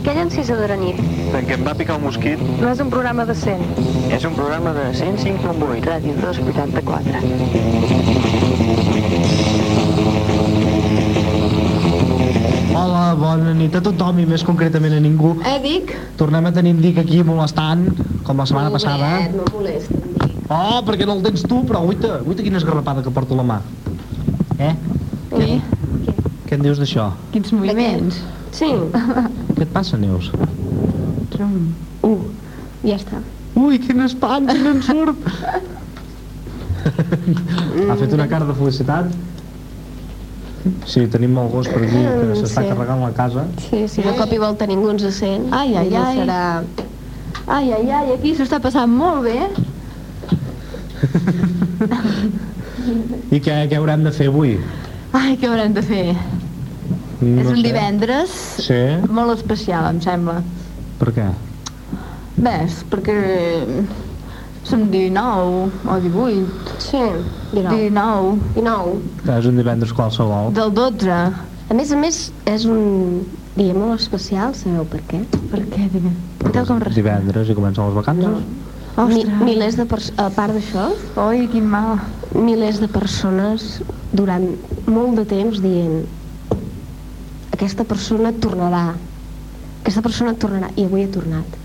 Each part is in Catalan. de la nit. En què em va picar un mosquit? No és un programa de 100. És un programa de 105.8, ràdio 284. Hola, bona nit a tothom i més concretament a ningú. Eh, Dic? Tornem a tenir en Dic aquí molestant, com la setmana passada. No molesta. Oh, perquè no el tens tu, però guaita, guaita quina esgarrapada que porto a la mà. Eh? Ui, Què en dius d'això? quins moviments. Sí. Què et passa, Neus? Trum. Uh, ja està. Ui, quin espant, quin ensurt! ha fet una cara de felicitat? Sí, tenim molt gos per aquí, que s'està Mm, Sí. carregant la casa. Sí, si de cop i volta ningú ens sent. Ai, ai, ningú ai. Serà... Ai, ai, ai, aquí s'ho està passant molt bé. I què, què haurem de fer avui? Ai, què haurem de fer? No és un sé. divendres Sí? molt especial, em sembla. Per què? Bé, és perquè som 19 o 18, Sí, 19. 19, 19. Que és un divendres qualsevol. del 12. A més a més, és un dia molt especial, sabeu per què? Per què, diguem? Tal com res... Divendres i comencen les vacances? Mi, Ostres, milers de pers- a part d'això, oi, quin mal. milers de persones durant molt de temps dient aquesta persona tornarà, aquesta persona tornarà, i avui ha tornat.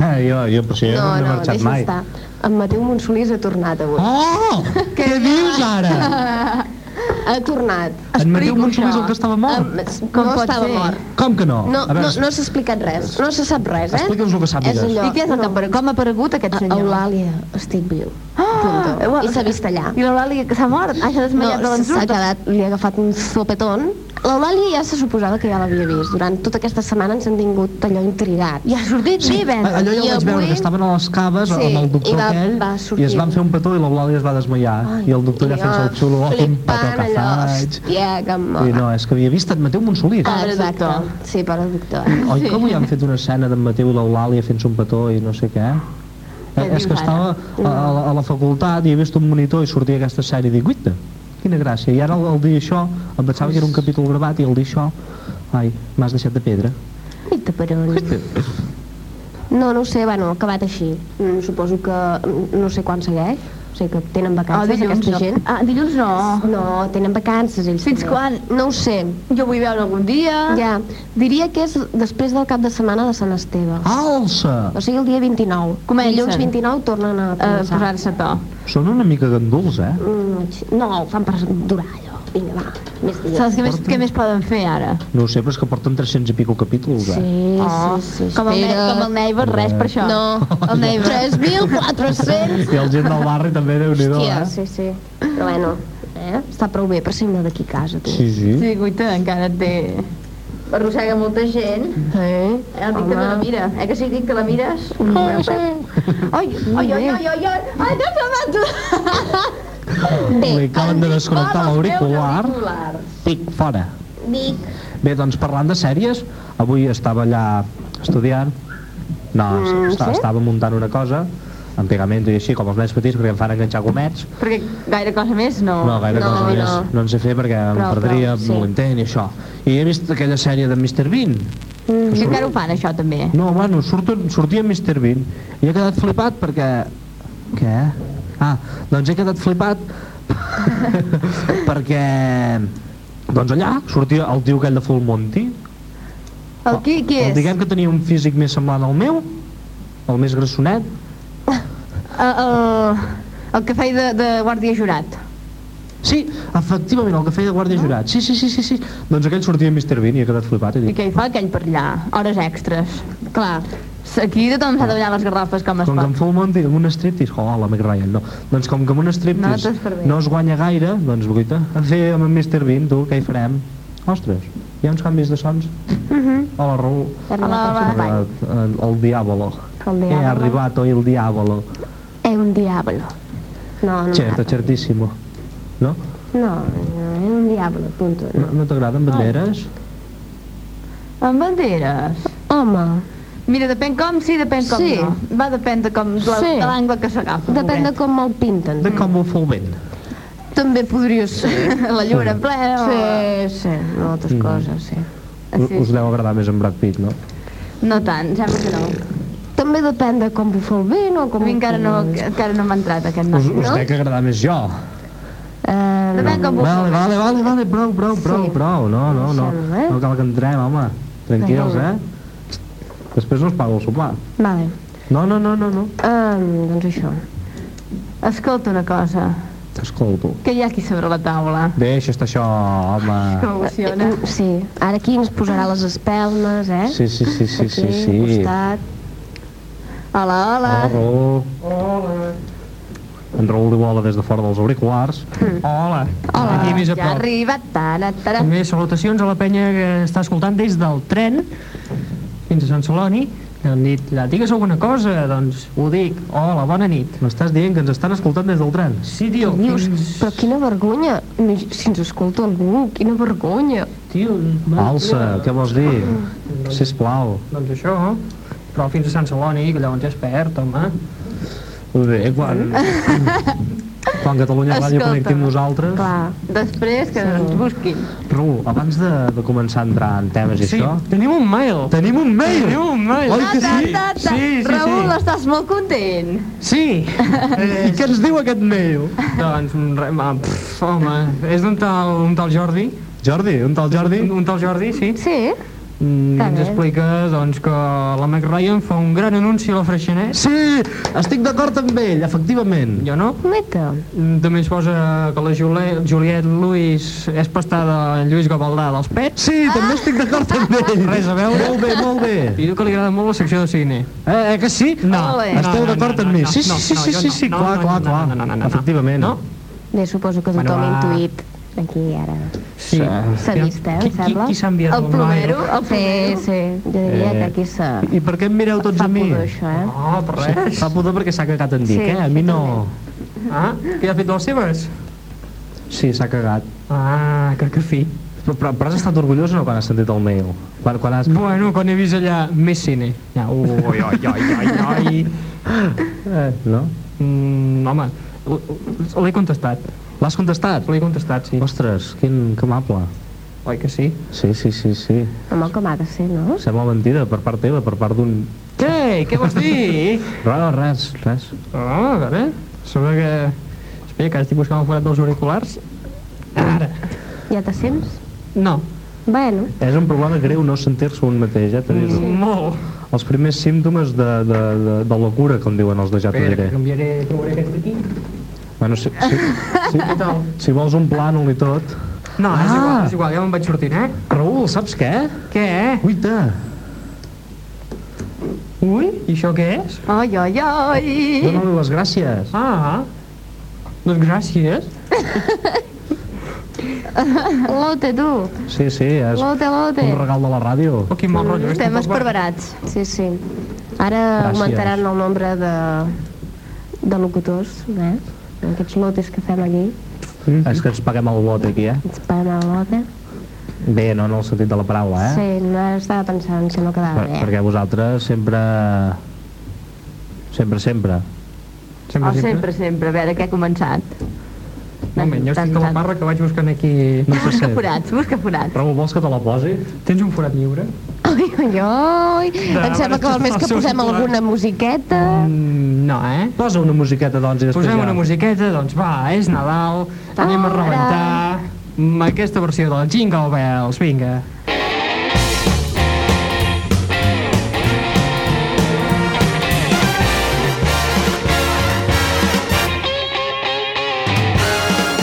Ah, jo, jo, però si jo no, no he marxat deixa mai. estar. En Mateu Monsolís ha tornat avui. Ah! Oh! Què dius ara? Ha tornat. En Mateu Explico Monsolís això. el que estava mort? Em- Com no pot estava ser? mort. Com que no? No, A no, veure, no s'ha explicat res. No se sap res, eh? explica'ns el que És sàpigues. allò. I què és el no. que ha aparegut? Com ha aparegut aquest A- senyor? Eulàlia, estic viu. Ah, Punto. Eulà- I s'ha vist allà. I l'Eulàlia que s'ha mort? Ah, s'ha No, desmaiat de s'ha l'ensurt. quedat, li ha agafat un sopetón. L'Eulàlia ja se suposava que ja l'havia vist. Durant tota aquesta setmana ens hem tingut allò intrigat. I ha sortit sí. divendres. Allò ja ho I vaig avui- veure, que estaven a les caves Sí, amb el doctor i va- aquell va i sortir. es van fer un petó i l'Eulàlia es va desmaiar i el doctor ja fent el xulo, oh, quin petó que faig. Ja, que em I mola. no, és que havia vist en Mateu Monsolís. Ah, Pobre exacte. doctor. Sí, pobre doctor. Oi que avui han fet una escena d'en Mateu i l'Eulàlia fent-se un petó i no sé què? Eh, Què és dius que ara? estava a, a, la, a la facultat i he vist un monitor i sortia aquesta sèrie i dic, uita, quina gràcia. I ara al, al dir això, em pensava que era un capítol gravat i al dir això, ai, m'has deixat de pedra. Uita, però... No, no ho sé, bueno, ha acabat així. Mm, suposo que mm, no sé quan segueix. O sigui que tenen Ah, vacances, dilluns aquesta no. gent. Ah, dilluns no. No, tenen vacances ells. Fins també. quan? Ah. No ho sé. Jo vull veure algun dia. Ja, diria que és després del cap de setmana de Sant Esteve. Ah, Alça! O sigui, el dia 29. Comencen. Dilluns 29 tornen a Eh, començar. Posar-se a to. Són una mica ganduls, eh? Mm, No, ho fan per durar, allò. Vinga, va, més dies. Saps què més, què més poden fer ara? No ho sé, però és que porten 300 i pico capítols, Sí, oh. eh? sí, sí, Ah. com, el, Ne- espera. com el Neighbor, res per això. No, El Neighbor. 3.400. I el gent del barri també, déu nhi Hòstia, eh? sí, sí. Però bueno, eh? està prou bé per ser una d'aquí a casa, tu. Sí, sí. Sí, guaita, encara et té... Arrossega molta gent. Eh? El Dic també la mira. Eh que sí, Dic, que la mires? Ai, ai, ai, ai, ai, ai, ai, no t'ha matat! Li acaben de eh, desconnectar l'auricular. Pic, fora. Dic. Bé, doncs parlant de sèries, avui estava allà estudiant, no, mm, Mm, estava, sí? estava muntant una cosa, amb pegament i així, com els nens petits, perquè em fan enganxar gomets. Perquè gaire cosa més no. No, gaire Oh, no, cosa no. més. No en sé fer perquè em Però, però, perdria, sí. no l'intent i això. I he vist aquella sèrie de Mr. Bean. I Mm. encara ho fan, això, també. No, bueno, surto, sortia Mr. Bean. I he quedat flipat perquè... Què? Ah, doncs he quedat flipat perquè... Doncs allà sortia el tio aquell de Full Monty, El qui, qui Oh, El, és? diguem que tenia un físic més semblant al meu, el més grassonet. El, Eh, el, el que feia de, de guàrdia jurat. Sí, efectivament, el que feia de guàrdia Ah. jurat. Sí, sí, sí, sí, sí. Doncs aquell sortia amb Mr. Bean i he quedat flipat. I I dic, què hi fa aquell per allà? Hores extres. Clar, s- aquí tothom s'ha de ballar les garrafes com es com que em pot. fa el món amb un striptease, oh, la Meg Ryan, no. Doncs com que amb un striptease t'has perdut. no es guanya gaire, doncs guaita, a fer amb en Mr. Bean, tu, què hi farem? Ostres, hi ha uns canvis de sons? Mhm. Hola, Raül. Ha Hola, Hola, arribat, eh, El diàbolo. El He diàbolo. arribat, oi, el diàbolo. È un diavolo. No, no Certo, m'agrada. certissimo. No? No, no, è un diavolo, punto. No, no t'agraden banderes? Amb banderes. Home, Mira, depèn com sí, depèn com Sí. no. Va, depèn de com, de la- Sí. de l'angle que s'agafa. depèn de com me'l pinten. De com ho fa el vent. També podria ser. pobret. La lluna en plena. Sí, sí, moltes coses, sí. Us, us deu agradar més en Brad Pitt, no? No tant, sembla que no. També depèn de com bufa el vent o A com... mi encara no, encara no m'ha entrat aquest Us, noi, us no? dec agradar més jo. Eh, Depèn com vulguis. Vale, vale, vale, vale, prou, prou, prou, Sí. prou. No, no, no. Deixem-ho, eh? No cal que entrem, home. Tranquils, Vinga. eh? Després no es paga el sopar. vale. No, no, no, no, no. Eh, doncs això. Escolta una cosa, T'escolto. que hi ha aquí sobre la taula. Deixa estar això, Que home. m'emociona. Eh, Sí, ara aquí ens posarà les espelmes, eh? Sí, sí, sí, sí, sí, Aquí, sí. al costat. Hola, hola. Hola, Raül. Hola. En Raül li vola des de fora dels auriculars. Hola. Hola, Aquí més ja a ha prop. arribat. Tara, tara. També salutacions a la penya que està escoltant des del tren fins a Sant Celoni. Han dit, "Ja, digues alguna cosa, doncs ho dic. Hola, bona nit. M'estàs dient que ens estan escoltant des del tren? Sí, tio, Dius, Mm. fins- però quina vergonya, No, si ens escolta algú, quina vergonya. Tio, Alça, què vols dir? Sisplau. Doncs això, però fins a Sant Celoni, que llavors ja és perd, home. Bé, eh, quan... quan Catalunya Ràdio Escolta. connectim nosaltres... Clar, Després que ens busquin. Raül, abans de, de començar a entrar en temes i Sí, això... tenim un mail. Tenim un mail! Tenim un mail. Oi que Ta, sí? ta, ta. Sí, sí, Raül, sí. estàs molt content. Sí. Eh, I què ens diu aquest mail? doncs, re, ma, pf, home, és d'un tal, un tal Jordi, Jordi, un tal Jordi? un, un tal Jordi, sí, Sí? Mm, i Està ens bé. explica doncs, que la Mac Ryan fa un gran anunci a la Freixenet. Sí, estic d'acord amb ell, efectivament. Jo no. neta. Mm, També es posa que la Juliet, Juliet Lewis és pastada en Lluís Gavaldà dels Pets. Sí, també estic d'acord amb ell. Res a veure. Molt bé, molt bé. I diu que li agrada molt la secció de cine. Eh, eh que sí? No. Ole. Esteu d'acord amb mi? Sí, sí, sí, sí, sí, sí, clar, clar, clar. No, no, no, no, no. Efectivament. No? Bé, suposo que tothom Bueno, ha va. intuït aquí ara. Sí. S'ha vist, eh, em Qui, qui, sembla. qui s'ha enviat El plomero, el Sí, plomero. sí, jo Eh, diria que aquí s'ha... I per què em mireu tots Fa a mi? pudor, això, eh? No, Ah, per res. Fa pudor perquè s'ha cagat en Dic, Sí, eh? A mi no... Ah, que ja ha fet les seves? Sí, s'ha cagat. Ah, que que fi. Però, però, però has estat orgullós o no quan has sentit el mail? Quan, quan has... Bueno, quan he vist allà més cine. Ja, ui, ui, ui, ui, ui. Eh, no? Mm, home, l- l- l'he contestat. L'has contestat? L'he contestat, sí. Ostres, quin, que amable. Oi que sí? Sí, sí, sí, sí. Home, com ha de ser, no? Sembla mentida per part teva, per part d'un... Què? Què vols dir? No, res, res. Ah, a veure, sembla que... Espera, que ara estic buscant el forat dels auriculars. Ara. Ja te sents? No. Bueno, És un problema greu no sentir-se un mateix, ja t'ho diré. Mm, Molt. Els primers símptomes de, de, de, de locura, com diuen els de ja t'ho Espera, que diré. canviaré, provaré aquest d'aquí. Bueno, si, si, si, Què tal? si vols un plànol i tot... No, és Ah. igual, és igual, ja me'n vaig sortint, eh? Raül, saps què? Què? Guaita! Ui, i això què és? Ai, ai, ai. Dóna-li les gràcies. Ah, doncs gràcies. lote, tu. Sí, sí, és Lote, lote. un regal de la ràdio. Oh, quin mal rotllo. Estem esperbarats. Sí, sí. Ara augmentaran el nombre de, de locutors, eh? En aquests lotes que fem allí, Ah, És que ens paguem el lot aquí, eh? ens paguem a la lota. Bé, no en el sentit de la paraula, eh? Sí, no estava pensant si no quedava Per, bé. perquè vosaltres sempre... Sempre, sempre. Sempre, Oh, sempre, sempre. A veure, què ha començat? Un moment, jo estic a la parra que vaig buscant aquí... No se Busca sent. forats, busca forats. Raül, vols que te la posi? Tens un forat lliure? Ai, ai, ai, em sembla que val més que posem alguna musiqueta. Mm, no, eh? Posa una musiqueta, doncs, i després Posem ja. una musiqueta, doncs va, és Nadal, anem a Ara. rebentar amb aquesta versió del Jingle Bells, vinga.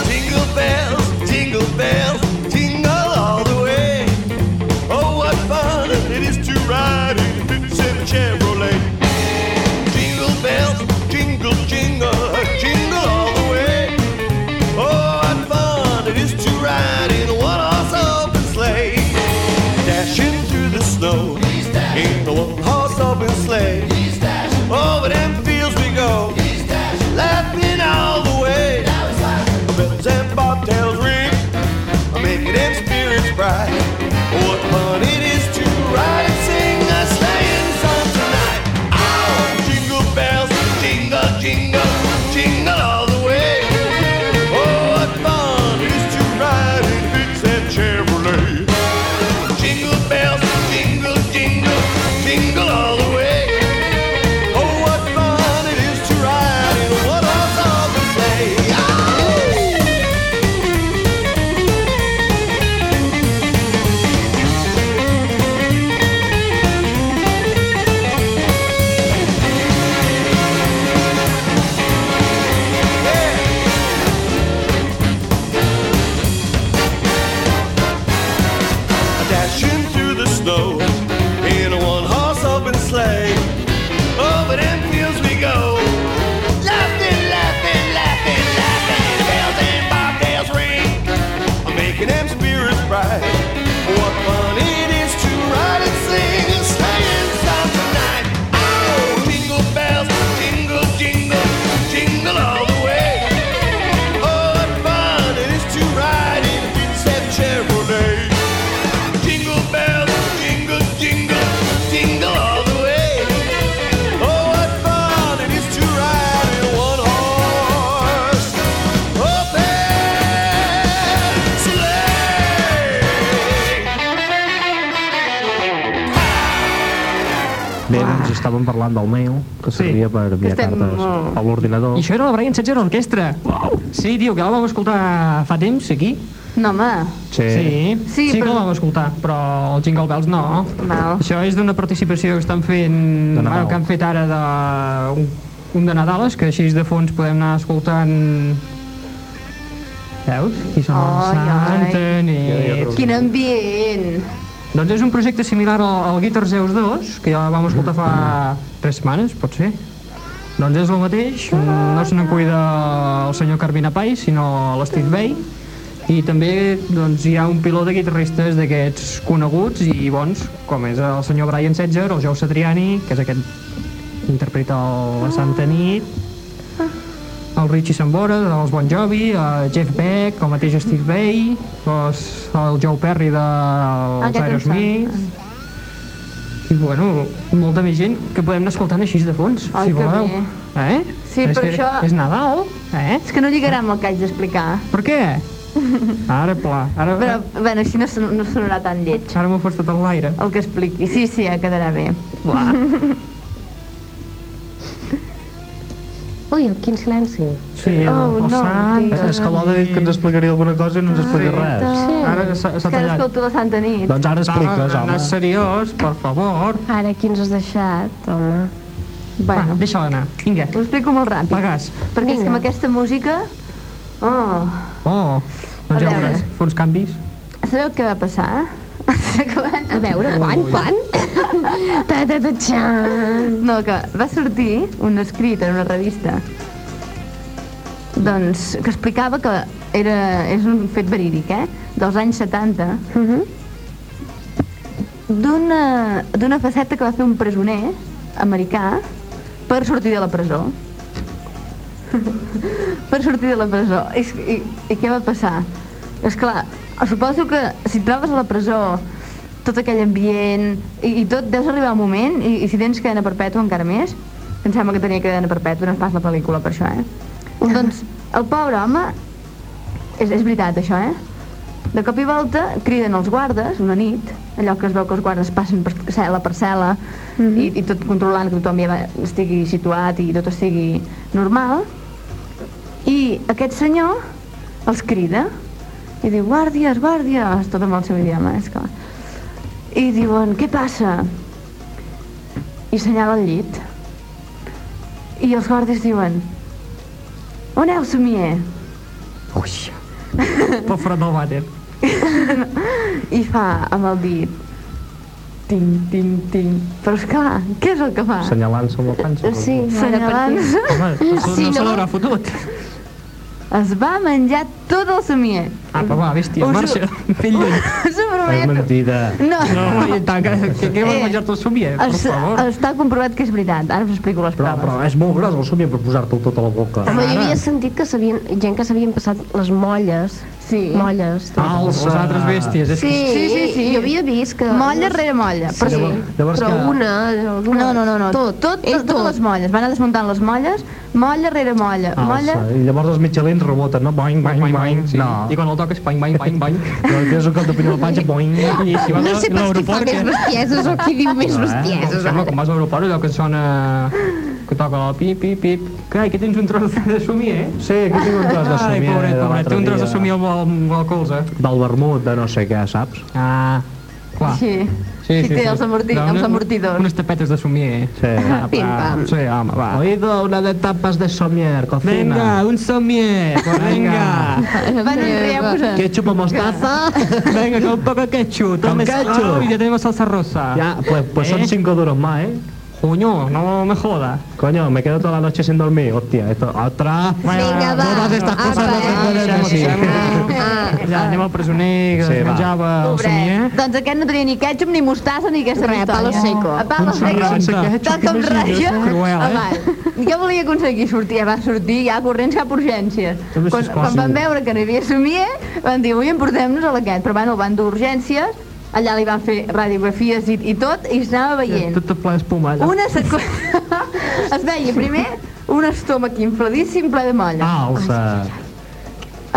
Jingle bells, jingle bells, jingle all the way. Oh, what fun it is to ride in a fifty-seven Chevrolet. Jingle bells, jingle, jingle, jingle all the way. Oh, what fun it is to ride in a one-horse open sleigh. Dashing through the snow in a one-horse open sleigh. Over them fields we go, laughing all the way bells and bobtails ring, making them spirits bright. What fun it is to ride and sing a sleighing song tonight! Ow! Jingle bells, jingle, jingle, jingle all the way. Oh, what fun it is to ride in a big sad Chevrolet. Jingle bells, jingle, jingle, jingle Oh, Oh, Oh, Oh, doncs estàvem parlant del meu, que Ah. Sí. servia per enviar estem cartes molt- a l'ordinador. I això era la Brian Setzer Orquestra. Wow. Sí, tio, que la vam escoltar fa temps, aquí. No, home. Sí. Sí, Sí, sí que però- la vam escoltar, però el Jingle Bells no. Val. Això és d'una participació que estan fent... De Nadal. bueno, que han fet ara de... Un, un de Nadales, que així de fons podem anar escoltant... Veus? Qui són els Ai, ai. Santa Nit. Quin ambient. Doncs és un projecte similar al, al Guitar Zeus 2, que ja vam escoltar fa 3 setmanes, pot ser. Doncs és el mateix, no se n'encuida el senyor Carmina Pai, sinó l'Steve Bay, i també doncs, hi ha un piló de guitarristes d'aquests coneguts i bons, com és el senyor Brian Setzer, el Jou Satriani, que és aquest que interpreta el, la Santa Nit, el Richie Sambora, dels Bon Jovi, el Jeff Beck, el mateix Steve Bay, doncs, el Joe Perry dels Aquest em sona. Aerosmith... I, bueno, molta més gent que podem anar escoltant així de fons, Ai, si que voleu. bé. Eh? Sí, és però que això- És Nadal, eh? És que no lligarà amb el que haig d'explicar. Per què? Ara, pla, ara, Però, bueno, així no, son- no sonarà tan lleig ara m'ho fos tot en l'aire. el que expliqui. Sí, sí, ja quedarà bé. Pla. Ui, quin silenci. Sí, Oh, el, el no, Sant... tio. És que l'Oda ha dit que ens explicaria alguna cosa i no ens explica res. Sí. Ara És s'ha s'ha que ara tallat. escolto la Santa Nit. Doncs ara Va, expliques, home. Anar seriós, per favor. Ara, qui ens has deixat, home? Doncs, Va, Bueno, deixa-la anar. Vinga, ho explico molt ràpid. pagas. Perquè és que amb aquesta música... Oh, Oh, A doncs ja veure. veuràs. Fa uns canvis. sabeu què va passar? A veure, quan, quan? ta ta ta txan. No, que va sortir un escrit en una revista doncs, que explicava que era, és un fet verídic, eh? dels anys 70, d'una d'una faceta que va fer un presoner americà per sortir de la presó. per sortir de la presó. I, i, i què va passar? És clar, suposo que si et trobes a la presó tot aquell ambient i, i tot, deus arribar al moment i, i si tens cadena perpètua encara més, que em sembla que tenia cadena perpètua, no es pas la pel·lícula per això, eh? doncs el pobre home és, és veritat, això, eh? De cop i volta criden els guardes, una nit, allò que es veu que els guardes passen per cel·la per cel·la i, i tot controlant que tothom ja va- estigui situat i tot estigui normal. I aquest senyor els crida i diu, guàrdies, guàrdies, tot amb el seu idioma, és clar. I diuen, què passa? I senyala el llit. I els guàrdies diuen, on heu somier? Ui, pel fred del vàter. i fa amb el dit ting, ting, ting. Però és clar, què és el que fa? Senyalant-se amb la panxa. Ah, Sí, Senyalant, Home, Ah, no, Sí, no se no. l'haurà fotut. es va menjar tot el somier. Apa, Ah, va, bèstia, Mm. Us ho- marxa. Fent lluny. Us ho És prometo. mentida. No, No, i tant, que, que, que vas Eh, menjar-te el somier, per es, favor. està comprovat que és veritat. Ara us explico les Però, però proves. és molt gros el somni per posar-te'l tot a la boca. Home, jo Ara. havia sentit que s'havien, gent que s'havien passat les molles, Sí. molles. Ah, els Ah. altres bèsties. És que... Sí, sí, sí. Jo havia vist que... Molla rere molla. Però Sí, sí. Llavors però que- una, alguna... No, no, no, no. Tot, tot, ell tot, totes les molles. Van anar desmuntant les molles, molla rere molla, Ah, molla... Alça. I llavors els mitjalins reboten, no? Boing, boing, boing. sí. No. I quan el toques, bang, bang, bang, bang. No, tens un cop de puny a la panxa, boing. I si vas No a sé pas qui fa l'aeroport, més que... bestieses o qui diu més No, eh? Em bestieses. sembla que quan vas a l'aeroport allò que sona... que toca la pip, pip, pip. Carai, que tens un tros de somier, eh? Sí, que tinc un tros de Ai, somiar. pobret, de pobret, l'altre té un tros de dia. somier al, al, al colze. Del vermut, de no sé què, saps? Ah, clar. Sí. Sí, té els, amorti Doncs els un- amortidors. Unes tapetes de somier. Sí. Pim, pam. Sí, home, Ah, va. Oído, una de tapas de somier, cocina. Venga, un somier. Venga. Van enrere Que chupa mostaza. Venga, con un poco de Con ketchup. Tome ketchup. Y ya tenemos salsa rosa. Ya, pues, pues ¿Eh? son cinco duros más, ¿eh? Coño, no me jodas. Coño, me quedo toda la noche sin dormir. Hostia, esto, otra. Vinga, va. Todas estas cosas no se pueden decir. Ja, anem al presoner que Sí, sí, es va. menjava el eh? somier. Pobret. Doncs aquest no tenia ni ketchup, ni mostassa, ni aquesta Res, palo seco. A palo seco. Doncs sense ketchup, Tal com imagina't, ratlla. eh? Cruel, eh? Home, jo volia aconseguir sortir, ja va sortir, ja corrents cap a urgències. Tu veus Quan, si és quan fàcil. van veure que no hi havia somier, van dir, avui emportem-nos a l'aquest. Però bueno, el van dur a urgències, allà li van fer radiografies i, i tot, i s'anava veient. Tot ple d'espuma, allà. Una seqüència... Ah, es veia primer un estómac infladíssim ple de molla. Alça.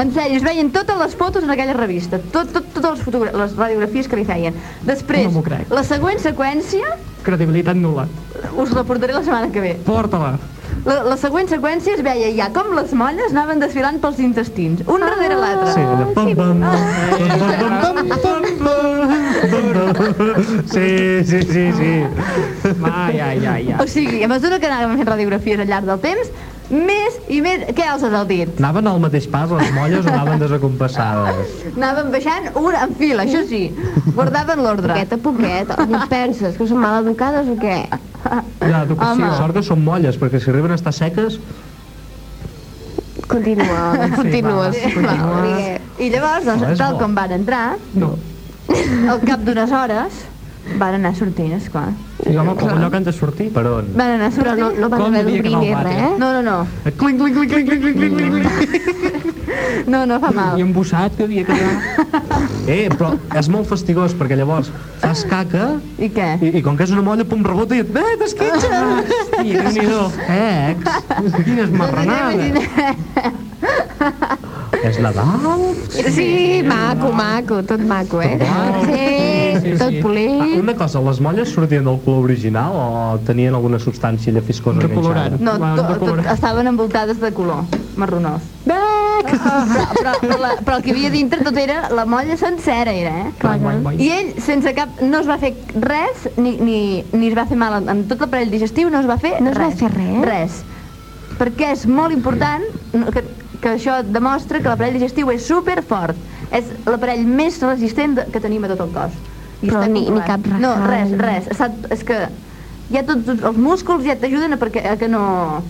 En sèrio, es veien totes les fotos en aquella revista, tot, tot, totes les, fotogra- les radiografies que li feien. Després, No m'ho crec. la següent seqüència, Credibilitat nul·la. us la portaré la setmana que ve. Porta-la. La, la següent seqüència es veia ja com les molles anaven desfilant pels intestins, un darrere l'altre. Sí, allò, pam, pam, Ah. pam, pam, pam, pam, pam, pam. Sí, sí, sí, sí. Ai, ai, ai, ai. O sigui, a mesura que anàvem fent radiografies al llarg del temps, més i més... Què alces el dit? Anaven al mateix pas les molles o anaven desacompassades? Anaven baixant una en fila, això sí. Guardaven l'ordre. Poquet a poquet, oi, et penses que són mal educades o què? Ja, tu sí, Home. sort que són molles, perquè si arriben a estar seques... Continua, continues. va, continua. I llavors, Oh, doncs, és tal bo. com van entrar, No. al cap d'unes hores, van anar sortint, esclar. I home, per allò que han de sortir. Per on? Van anar Però sortint... no, no vas Com haver diria que d'obrir no ni va, res. no, no, no, Clinc, clinc, clinc, clinc, clinc, clinc, clinc, clinc. no, no fa mal. I embossat que havia quedat. Eh, però és molt fastigós, perquè llavors fas caca I què? i, i com que és una molla, pum, rebota i et... Eh, t'esquitxa! Hòstia, déu-n'hi-do. Ex, quines marranades. És Nadal? Sí, maco, maco, tot maco, eh? maco. Sí, tot polit. Ah, Una cosa, les molles sortien del color original o tenien alguna substància allà fiscosa Recolorant. enganxada? No, Van de to, color. tot, estaven envoltades de color, marronós. Però, però, però, la, però el que hi havia dintre tot era, la molla sencera era, eh? Guai, guai, guai. I ell, sense cap, no es va fer res, ni, ni, ni es va fer mal en- en tot l'aparell digestiu, no es va fer No es res. va fer res? Res. Perquè és molt important no, que, que això demostra que l'aparell digestiu és superfort. És l'aparell més resistent de, que tenim a tot el cos. I Però està ni- ni comprovat. cap No, res, rajol. res. Està, és que ja tots, tots els músculs ja t'ajuden a, perquè, a que no...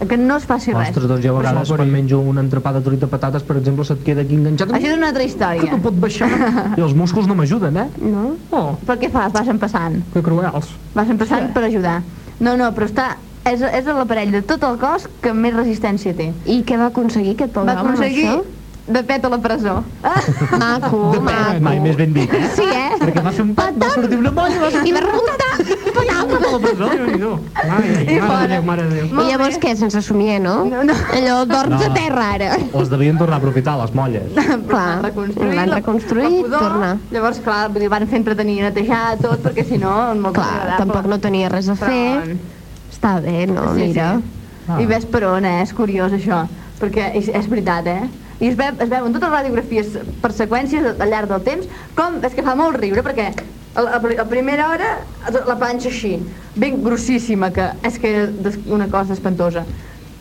A que no es faci res. Ostres, doncs jo a vegades quan menjo un entrepà de truita de patates, per exemple, se't queda aquí enganxat. Això és una altra història. Que no pot baixar. I els músculs no m'ajuden, eh? No? Oh, Però què fas? Vas empassant. que cruels. Vas empassant per ajudar. No, no, però està... És, és l'aparell de tot el cos que més resistència té. I què va aconseguir aquest pobre Va aconseguir home amb de pet a la presó. Ah, això? Maco, maco. Mai més ben dit, eh? Sí, eh? Perquè va fer un pat, va sortir una molla, va sortir I va remuntar. de la presó. Déu-n'hi-do. Ai, ai, mare de Déu, mare de Déu. I llavors què? Sense somiar, no? No, no. Allò No. dorms a terra ara. Les devien tornar a aprofitar, les molles. Clar, reconstruït, l'han la- reconstruït, la pudor. torna. Llavors, clar, vull dir, van fent entretenir, netejar tot, perquè si no... Molt Clar, tampoc no tenia res a fer. Està bé, no? Sí, Mira. sí. Ah. I ves per on, eh? És curiós, això. Perquè és, és veritat, eh? I es, ve, es veuen totes les radiografies per seqüències al llarg del temps, com és que fa molt riure, perquè a la, a pri- a primera hora la planxa així, ben grossíssima, que és que era des- una cosa espantosa.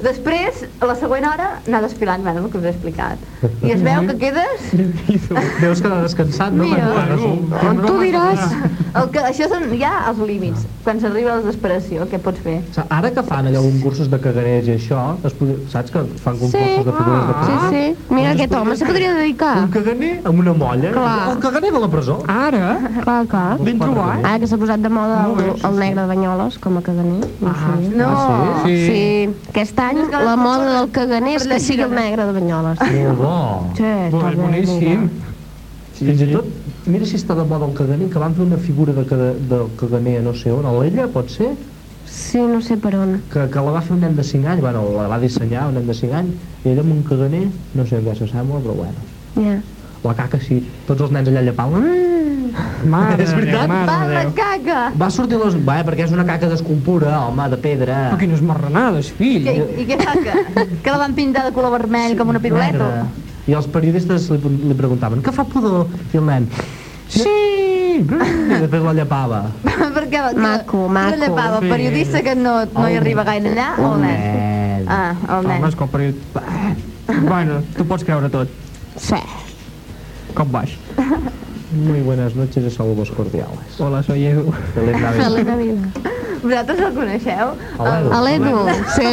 Després, a la següent hora, anar desfilant, bueno, el que us he explicat. I es veu que quedes... Deus quedar descansat, no? Mira. Perquè, bueno, Tu diràs... El que, això són ja els límits, quan s'arriba a la desesperació, què pots fer? O sigui, Ara que fan allò concursos de cagarers i això, es podria, saps que fan concursos de figures de Ah, Sí, sí. Mira, aquest home se podria dedicar. Un caganer amb una molla. Clar. Ah, El caganer de la presó. eh? Ara, Clar, clar. ben trobat. Ara que s'ha posat de moda Molt bé, el, sí, el negre de Banyoles, com a caganer. No ho sabia. No, Ah, sí? Sí, aquest any la moda del caganer és que sigui el negre de Banyoles. Molt bo. Sí, està Bo, bé, boníssim. Fins i tot, mira si està de moda el caganer, que van fer una figura de, cada, del caganer a no sé on, a l'Ella, pot ser? mira. Sí, no sé per on. Que, que la va fer un nen de 5 anys, bueno, la va dissenyar un nen de 5 anys, i ella amb un caganer, no sé en què s'assembla, però bueno. Ja. La caca sí, tots els nens allà llepant. "Ah!" Mare de És Déu, veritat? mare Va, de la Déu. caca! Va sortir les... Va, eh, perquè és una caca d'escultura, home, de pedra. Però quines marranades, fill. I, I què fa? Que, que la van pintar de color vermell com una piruleta? Merda. I els periodistes li, li preguntaven, què fa pudor? I el nen, sí! I després la llepava. Perquè que- Maco, maco. No llepava, el periodista que no, no hi arriba gaire allà, o el nen? nen. Ah, el Home, nen. és que el period... Bueno, tu pots creure tot. Sí. Com vas? Muy buenas noches y saludos cordiales. Hola, soy Edu. Feliz Navidad. Elena Vila. Vosaltres el coneixeu? Hola, El- Edu. A l'Edu, sí,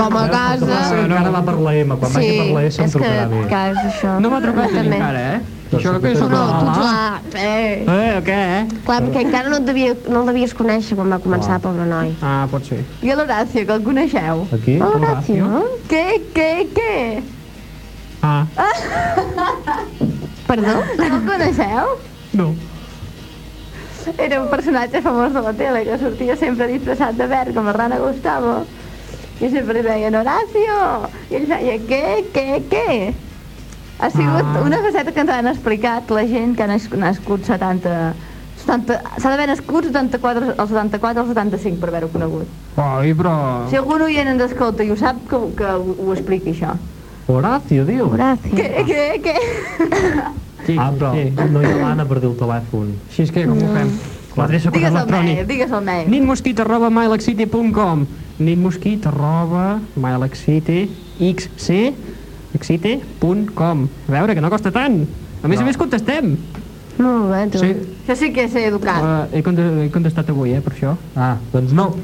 com a casa. No, ara va per la M, quan Sí, vagi per la S em és que, trucarà bé. que és això. No m'ha trucat ni També. encara, eh? Això que és Tu no, tu Ah. home. clar. Eh. Eh, o què, eh? Clar, perquè encara no, et devia, no el devies conèixer quan va començar, pobre noi. Ah, pot ser. I l'Horacio, que el coneixeu? Aquí? Oh, Horacio? Què, què, què? Ah, Perdó? No el coneixeu? no. Era un personatge famós de la tele que sortia sempre disfressat de verd com a rana Gustavo. I sempre li deien Horacio! I ell feia què, què, què? Ha sigut Ah. una faceta que ens han explicat la gent que ha nas- nascut 70... 70 S'ha d'haver nascut 74, el 74 o el 75 per haver-ho conegut. Oh. Oi, però... Si algun oient ens doncs, escolta i ho sap, que, ho- que ho, ho expliqui, això. Horacio, diu. Què, què, què? Sí, Ah, però sí. no hi ha l'Anna per dir el telèfon. Així és que com ho fem? L'adreça per Digues el mail, electrònic. digues el mail. nitmosquit arroba mylexity.com nitmosquit arroba mylexity xc excite.com A veure, que no costa tant. A més a més contestem. Molt bé, tu. Sí, Això sí que és ser educat. eh, he, conte he contestat avui, eh, per això. Ah, doncs no.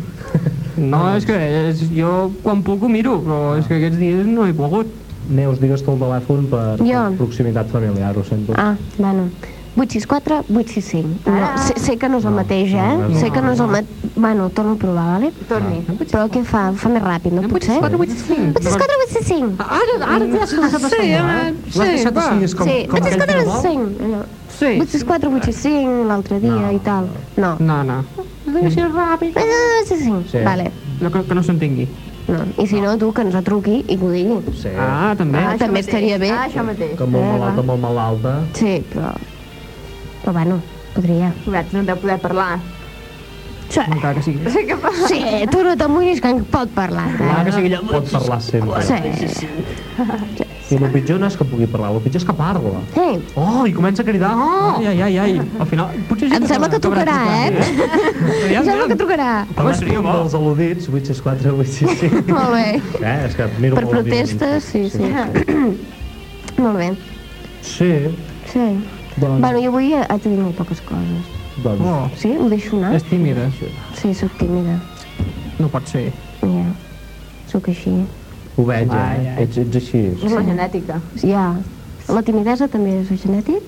No, és que és, jo quan puc ho miro, però és que aquests dies no he pogut. Neus, digues tu el telèfon per, Jo. per proximitat familiar, ho sento. Ah, bueno. 864, 865. No, sé, sé que no és el mateix, eh? no, sé que no és el mateix. Bueno, torno a provar, vale? Torni. Però què fa? Fa més ràpid, no pot ser? 485. 864, 865. Ara, ara t'ho has passat a sí, sí, L'has deixat va. així, és com... Sí, com aquell 864, que no vol. 865. allò. Sí. 864, 865, l'altre dia i tal. No. No, no. Deixa ràpid. 865. Sí. Vale. No, que, que no s'entengui. No. I si no, tu que ens truqui i que ho digui. Sí. Eh. Ah, també. Ah, això també mateix. estaria bé. Ah, això mateix. Que molt malalta, molt malalta. Sí, però... Però bueno, podria. Cobrats, no deu poder parlar. Sí, Encara que sigui. Sí que passa. sí tu no t'amoïnis que en pot parlar. Encara Eh? Ah, que sigui allò. Pot parlar sempre. Sí. I el pitjor no és que pugui parlar, el pitjor és que parla. Sí. Ah. Oh, i comença a cridar. Oh! Ai, ai, ai, ai. Al final, potser sí Em sembla que acabarà trucarà, eh? trucant, eh? Em sembla que trucarà. Home, seria bo. Dels al·ludits, 864, 865. Molt bé. eh, és que miro Per molt evident. protestes, sí, sí. Molt bé. Sí, Sí. doncs, Bueno, jo avui haig de dir molt poques coses. doncs Oh, Sí? Ho deixo anar? és tímida. Sí, sóc tímida. No pot ser. Ja. Sóc així. ho veig, Ai, eh? ai. Ets, ets així. És la genètica. Ja. La timidesa també és genètic?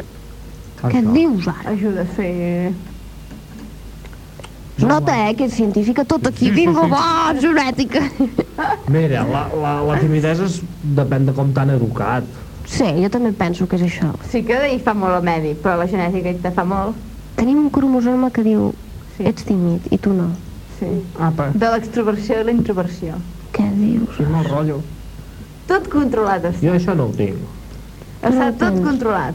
Què Això. dius ara? Ajuda a fer... Nota, eh, que és científica tot aquí. Bingo, bo, genètica. Mira, la, la, la timidesa és, depèn de com t'han educat. Sí, jo també penso que és això. Sí que hi fa molt el mèdic, però la genètica hi te fa molt. Tenim un cromosoma que diu Sí. ets tímid i tu no. Sí. Apa, De l'extroversió i la introversió. Què dius? sí, mal rotllo. Tot controlat està. Jo això no ho tinc. Està No tot tens. controlat.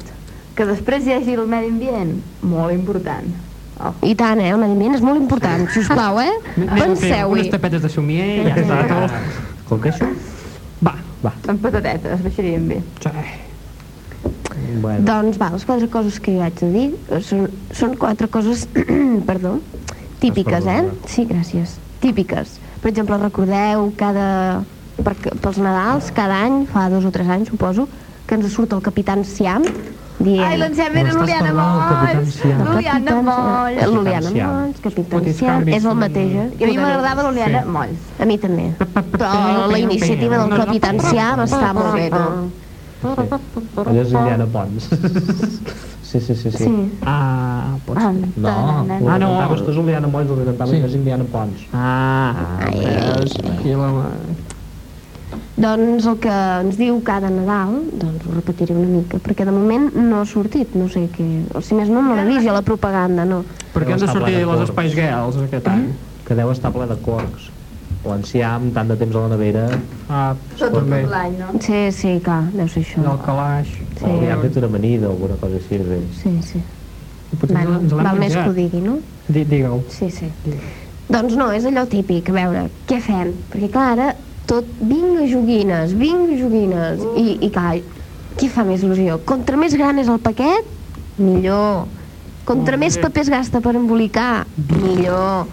Que després hi hagi el medi ambient, molt important. Oh. I tant, eh? El medi ambient és molt important, sisplau, eh? Penseu-hi. Unes tapetes de somier i ja està. tot. Com que això? Va, Amb patatetes, baixarien bé. sí. Bueno, Doncs va, les quatre coses que jo haig de dir eh, són, són quatre coses, perdó, típiques, eh? perdonada. Sí, gràcies. Típiques. Per exemple, recordeu cada... Per, pels Nadals, cada any, fa dos o tres anys, suposo, que ens surt el Capitán Siam dient... Ai, l'encem era Però estàs l'Uliana parlant del Capitán Molls! Siam. L'Uliana Molls! Eh, L'Uliana Capitán Siam. Molls, Capitán Fotis Siam, canvis. és el mateix, eh? I a mi m'agradava l'Uliana Molls. A mi també. Però la iniciativa del Capitán Siam està molt bé, doncs. no? allò és Indiana Pons. sí, sí, sí, sí. Doncs- Sí. Ah, pot ser. No, Ah, ah, no. no. cantaves tu és Juliana Molls, el que cantaves Sí. sí. és Indiana Pons. Ah, veus? I la... Doncs el que ens diu cada Nadal, doncs ho repetiré una mica, perquè de moment no ha sortit, no sé què... O si més no, no l'he vist, jo la propaganda, no. Per què han de sortir les espais gals aquest any? Que deu estar ple de corcs. L'enciam, tant de temps a la nevera, Ah, Tot també. l'any, no? Sí, sí, clar, deu ser I el això. calaix. sí. li han fet una amanida o alguna cosa així. bé. Sí, sí. Potser Bueno, ens l'hem val més que ho menjat. digui, no? Di- Digue-ho. Sí, sí. Doncs no, és allò típic, a veure, què fem? Perquè clar, ara tot, vinga joguines, vinga joguines, i, i clar, qui fa més il·lusió? Contra més gran és el paquet, millor. Contra més paper es gasta per embolicar, millor.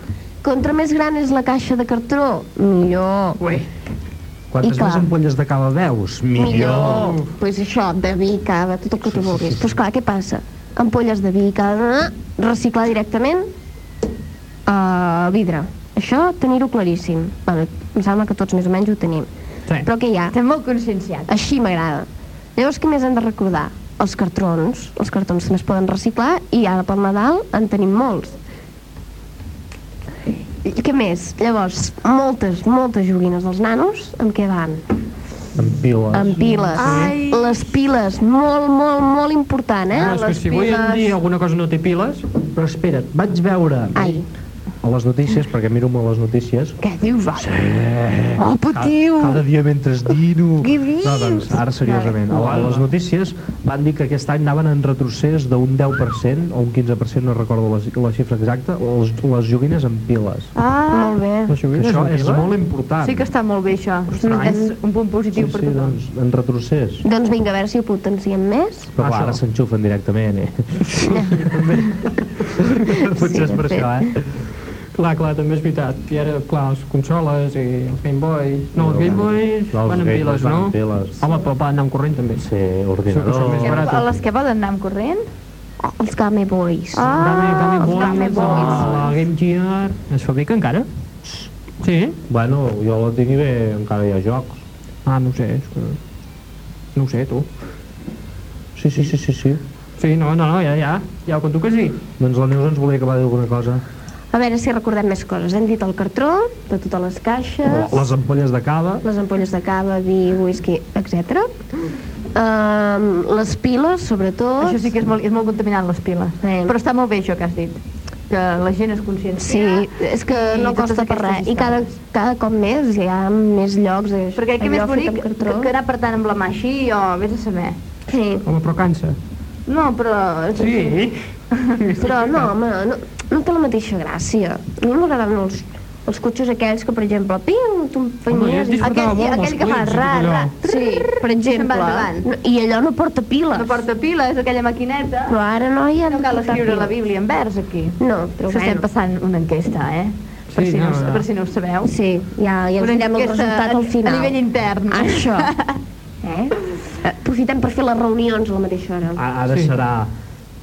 Contra més gran és la caixa de cartró, millor. Ué. I Quantes clar. més ampolles de cava veus? Millor. Doncs pues això, de vi, cava, tot el que tu vulguis. Però esclar, què passa? Ampolles de vi, cava, reciclar directament a vidre. Això, tenir-ho claríssim. Bé, em sembla que tots més o menys ho tenim. Sí. Però què hi ha? Estem molt conscienciats. Així m'agrada. Llavors, què més hem de recordar? Els cartrons. Els cartrons també es poden reciclar i ara per Nadal en tenim molts. I què més? Llavors, moltes, moltes joguines dels nanos, amb què van? Amb piles. Amb piles. Ai. Les piles, molt, molt, molt important, eh? Ah, és que les si avui en piles. dia alguna cosa no té piles... Però espera't, vaig veure Ai, a les notícies, perquè miro molt les notícies, Què dius, va? Oh, patiu! cada dia mentre dino... Què No, doncs, dius? ara seriosament, a, la- a les notícies van dir que aquest any anaven en retrocés d'un 10% o un 15%, no recordo la, ci- la xifra exacta, les, les joguines en piles. Ah, Molt bé. Que això és molt important. sí que està molt bé, això. Estrany. És un punt Sí, positiu per sí, tothom. doncs, en retrocés. Doncs vinga, a veure si ho potenciem més. Però clar, ara s'enxufen directament, eh? doncs. Potser és per de fet. això, eh? Clar, clar, també és veritat. I ara, clar, les consoles i els Game Boys... No, els No, Game Boys no, els van en Game piles, Boys van no? en piles. Home, però va anar amb corrent, també. Sí, Són- són més ordinador... barats. A les que poden anar amb corrent? Oh, els Game Boys. Game, Ah, Game els Game Boys, la, Boys. la Game Gear... Es fabrica encara? Sí? Bueno, jo la tinc i bé, encara hi ha jocs. Ah, no ho sé, és que... No ho sé, tu. Sí, sí, sí, sí, sí. Sí, no, no, no, ja, ja. Ja ho conto que sí. Doncs la Neus ens volia acabar de dir alguna cosa. A veure si recordem més coses. Hem dit el cartró, de totes les caixes, Les ampolles de cava, les ampolles de cava, vi, whisky, etc. Um, les piles, sobretot. Això sí que és molt, és molt contaminant, les piles. Sí. Però està molt bé això que has dit, que la gent és conscient. Sí, és que I no totes costa per aquestes res. I cada, cada cop més hi ha més llocs. eh, Però crec que més allò fet bonic amb que, cartró. que anar per tant amb la mà així o vés a saber. Sí. Home, però cansa. No, però... Sí. Però no, home, no, no té la mateixa gràcia. A mi m'agraden els, els cotxes aquells que, per exemple, pim, tu Home, jo empenyies... i- disfrutava Aquell- molt amb aquell els que fa clips i ra, tot allò. ra. Sí, per exemple. endavant. no- I allò no porta piles. No porta pila, és aquella maquineta. Però ara, noia, No cal escriure la Bíblia en vers, aquí. No, però Us estem bueno. passant una enquesta, eh? Per, Sí, si, no, no, no. per si no ho sabeu. Sí, ja, ja us direm el resultat al final. Ah, A nivell intern. Això. Eh? Aprofitem per fer les reunions a la mateixa hora. a- ara Sí. serà...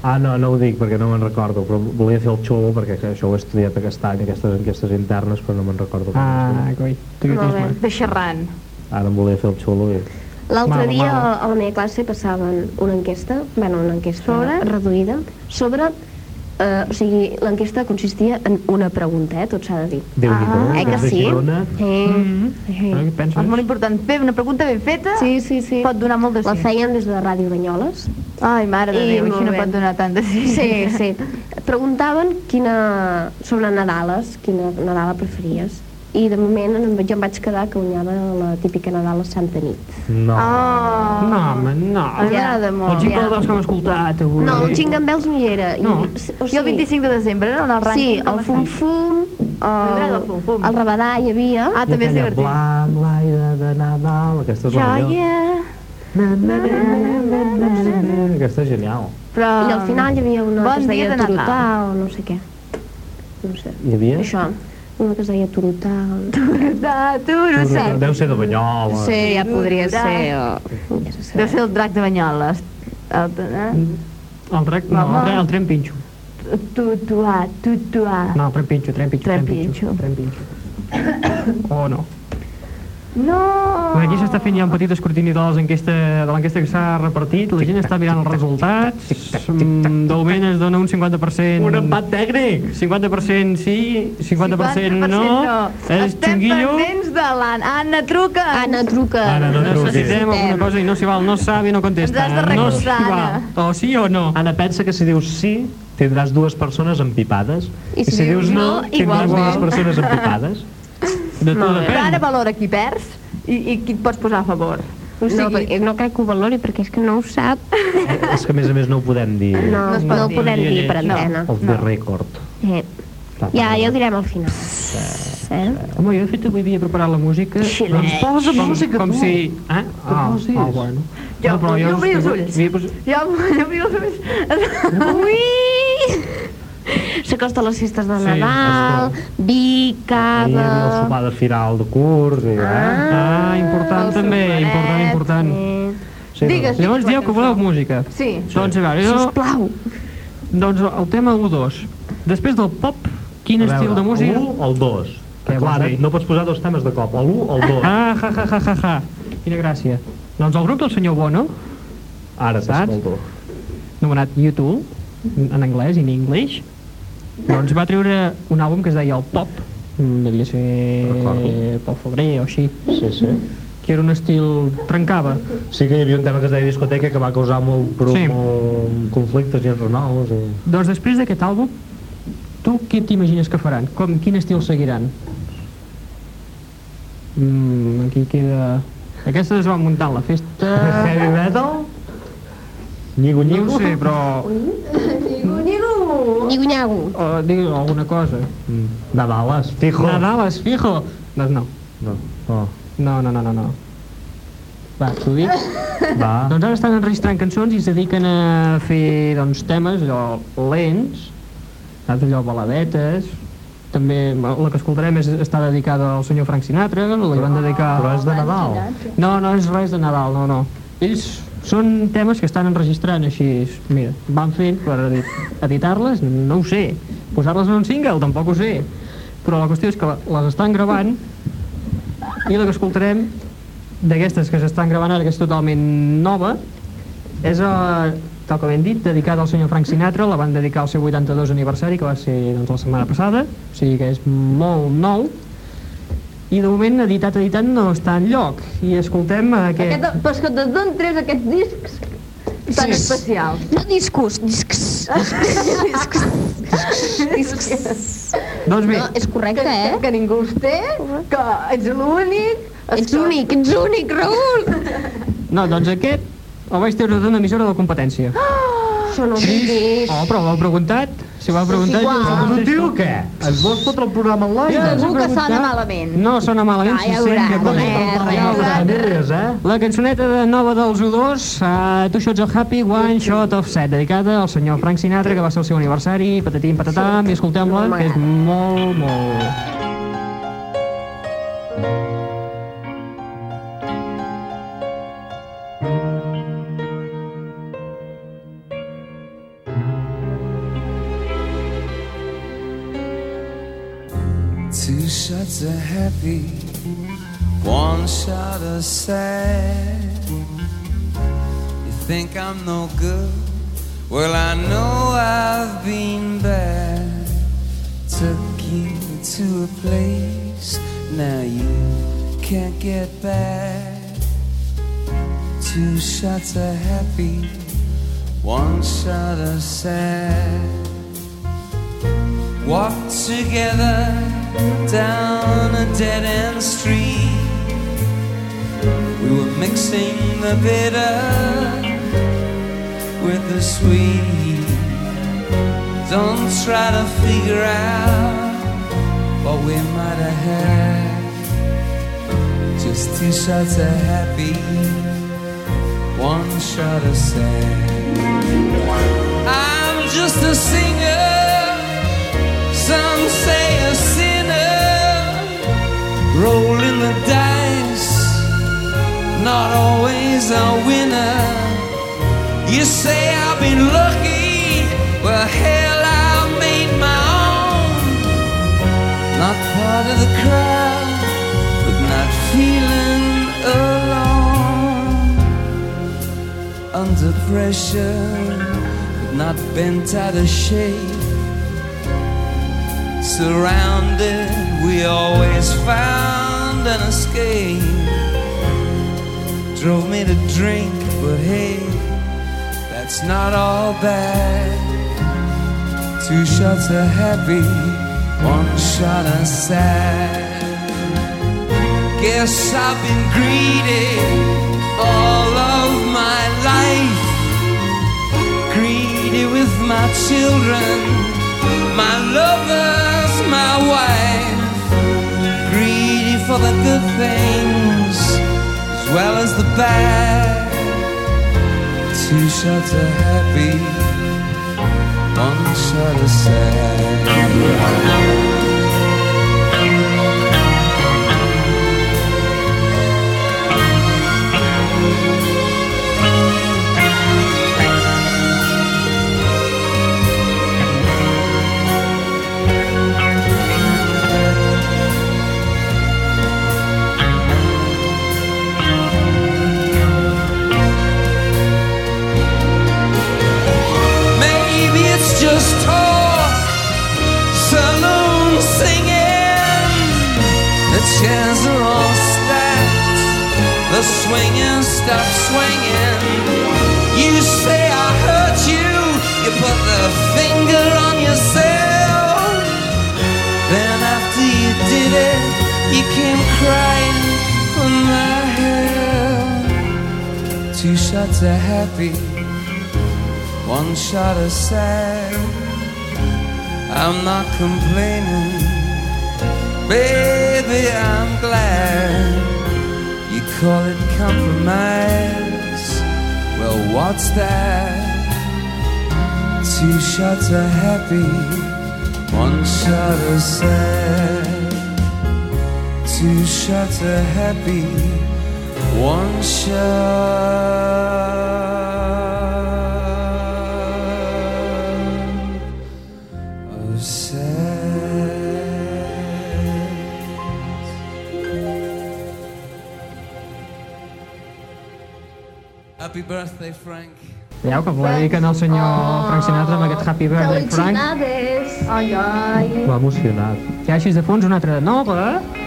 Ah, no, no ho dic perquè no me'n recordo, però volia fer el xulo perquè que això ho he estudiat aquest any, aquestes enquestes internes, però no me'n recordo. com es Ah, diu. coi. Tu que Molt tens bé. mal. De xerrant. Ara em volia fer el xulo i... L'altre Mal, dia mal. a la meva classe passaven una enquesta, bueno, una enquesta Sobre? reduïda, sobre... Eh, o sigui, l'enquesta consistia en una pregunta, eh, tot s'ha de dir. déu nhi Ah, eh que des de sí? Girona, Mm-hmm. Eh, Ara eh. què penses? És molt important fer una pregunta ben feta. Sí, sí, sí. Pot donar molt de La sí. feien des de Ràdio Banyoles. Ai, mare de I Déu, molt així no bé. pot donar tant de sí. Sí, sí. Preguntaven quina... sobre Nadales, quina Nadala preferies. I de moment em- jo em vaig quedar que guanyava la típica Nadala Santa Nit. No. Oh. No, home, no. Em agrada El molt. Jingle Bells que hem escoltat avui. No, el Xingambels no hi era. I- No. s- Jo el 25 de desembre era el rànquing. Sí, el Fum Fum, M'agrada el el, Fum Fum. el Rabadà hi havia. Ah, I també és aquella divertit. blanc, l'aire de Nadal, aquesta és la Ja, millor. ja. Aquesta és genial. Però... I al final hi havia una Bon que es dia deia de Nadal. Turutà o no sé què. No sé. Hi havia? Això, una que es deia Turutà. o- De tu, no sé. Deu ser de Banyoles. Sí, ja podria Turutà. ser. O... Ja se Deu sabrà. ser el drac de Banyoles. El, eh? Mm. El drac, no, el, tre- el tren pinxo. Tutuà, tutuà. No, el tren pinxo, tren pinxo, tren Trempitxo. pinxo. Tren pinxo. O no. No! Perquè Aquí s'està fent ja un petit escrutini de l'enquesta de l'enquesta que s'ha repartit, la gent està mirant els resultats, mm, de moment es dona un 50%... Un empat tècnic! 50% sí, 50%, 50% no, és Estem xunguillo, pendents de l'Anna. Anna, truca! Anna, truca. Anna, Ah, no truquis. necessitem alguna cosa i no s'hi val, no sabe, no contesta. eh? Ens has de no recordar, s'hi val. O sí o no. Anna, pensa que si dius sí, tindràs dues persones empipades. I si, dius no, tindràs igualment. dues persones empipades. De tot Però ara depèn. valora qui perds i, i qui et pots posar a favor. O sigui, No, perquè no crec que ho valori perquè és que no ho sap. Eh, És que a més a més no ho podem dir. No, No es pot no ho dir. podem dir per No. antena. Off the record. Eh. Ja, ja ho direm al final. Eh? Home, jo de fet avui havia preparat la música. Doncs posa música, com si... Eh? Ah, ah, bueno. Jo- però jo obria els ulls. havia posat- jo vull obrir els ulls. Ui! S'acosta a les festes de Nadal, Ahir vi, hi havia el cava... sopar de final de curs. I, eh? Ah, important el també, soparet. important, important. Eh, Sí, Digues. Llavors dieu que voleu música. Sí. Doncs a veure, jo, sisplau. doncs el tema 1-2. Després del pop, quin a veure, Uh. estil de música? L'1 o el 2? Què Clar, vols dir? no pots posar dos temes de cop, o l'1 o el 2. Ah, ja, ja, ja, ja, ja. Quina gràcia. Doncs el grup del senyor Bono, Ara t'escolto. anomenat YouTube, en anglès, in English, doncs va treure un àlbum que es deia El Pop, mm, devia ser Recordo. pel febrer o així, Sí, sí. que era un estil... trencava. Sí que hi havia un tema que es deia discoteca que va causar molt, pro, Sí. molt conflictes i enrenou. Sí. Doncs després d'aquest àlbum, tu què t'imagines que faran? Com, quin estil seguiran? Mm, aquí queda... Aquesta es va muntant la festa... Heavy metal? Nyigo, No ho nyigo. sé, però... Nyiguinyago. O, digui alguna cosa. De bales. Fijo. Nadales, fijo! Doncs no. No. Oh. No, no, no, no, no. Va, t'ho dic. Va. Doncs ara estan enregistrant cançons i es dediquen a fer doncs, temes allò, lents, saps allò, baladetes, també la que escoltarem és, està dedicada al senyor Frank Sinatra, li van dedicar... Però és de Nadal. No, no és res de Nadal, no, no. Ells són temes que estan enregistrant així, mira, van fent per edit- editar-les, no ho sé, posar-les en un single, tampoc ho sé, però la qüestió és que les estan gravant i la que escoltarem d'aquestes que s'estan gravant ara, que és totalment nova, és, eh, tal com hem dit, dedicada al senyor Frank Sinatra, la van dedicar al seu 82 aniversari, que va ser doncs, la setmana passada, o sigui que és molt nou, i de moment, editat, editat, no està en lloc. I escoltem eh, que... Aquest, però és que et donen tres aquests discs tan especials. No discos, discs. Doncs bé, No, és correcte, eh? Que ningú els té, que ets l'únic... Ets únic, ets únic, Raül! no, doncs aquest el vaig treure d'una emissora de competència. Ah, Això no ho diguis. Oh, però ho heu preguntat? Si ho heu preguntat... igual. jo us Tu, contesto. tio, Doncs què? Ens vols fotre el programa en l'aire? Ja, Segur que preguntat? sona malament. No sona malament, Ah, se ja sent que veuràs, tot eh, ja ho res. veuràs. Caderes, eh? La cançoneta de nova dels U2, uh, Two Shots of Happy, One Shot of Set, dedicada al senyor Frank Sinatra, que va ser el seu aniversari, patatim, patatam, i escoltem-la, que és molt, molt... Two shots of happy, one shot of sad. You think I'm no good? Well, I know I've been bad. Took you to a place, now you can't get back. Two shots of happy, one shot of sad walked together down a dead end street. We were mixing the bitter with the sweet. Don't try to figure out what we might have had. Just two shots of happy, one shot of sad. I'm just a singer. Some say a sinner rolling the dice, not always a winner. You say I've been lucky, well, hell, I made my own. Not part of the crowd, but not feeling alone. Under pressure, but not bent out of shape. Surrounded, we always found an escape. Drove me to drink, but hey, that's not all bad. Two shots of happy, one shot of sad. Guess I've been greedy all of my life, greedy with my children my lovers, my wife, greedy for the good things as well as the bad. Two shots of happy, one shot of sad. Maybe it's just talk, saloon singing. The chairs are all stacked, the swingers stop swinging. You say I hurt you, you put the finger on yourself. lady, you came crying for my help. Two shots are happy, one shot is sad. I'm not complaining, baby, I'm glad. You call it compromise, well, what's that? Two shots are happy, one shot is sad. Two shots are happy, one shot of sad. Happy birthday, Frank. Veieu que polèmica en el senyor Frank Sinatra amb aquest Happy Birthday Frank. Felicidades. Ai, ai. M'ha emocionat. I així de fons, una altra de nova.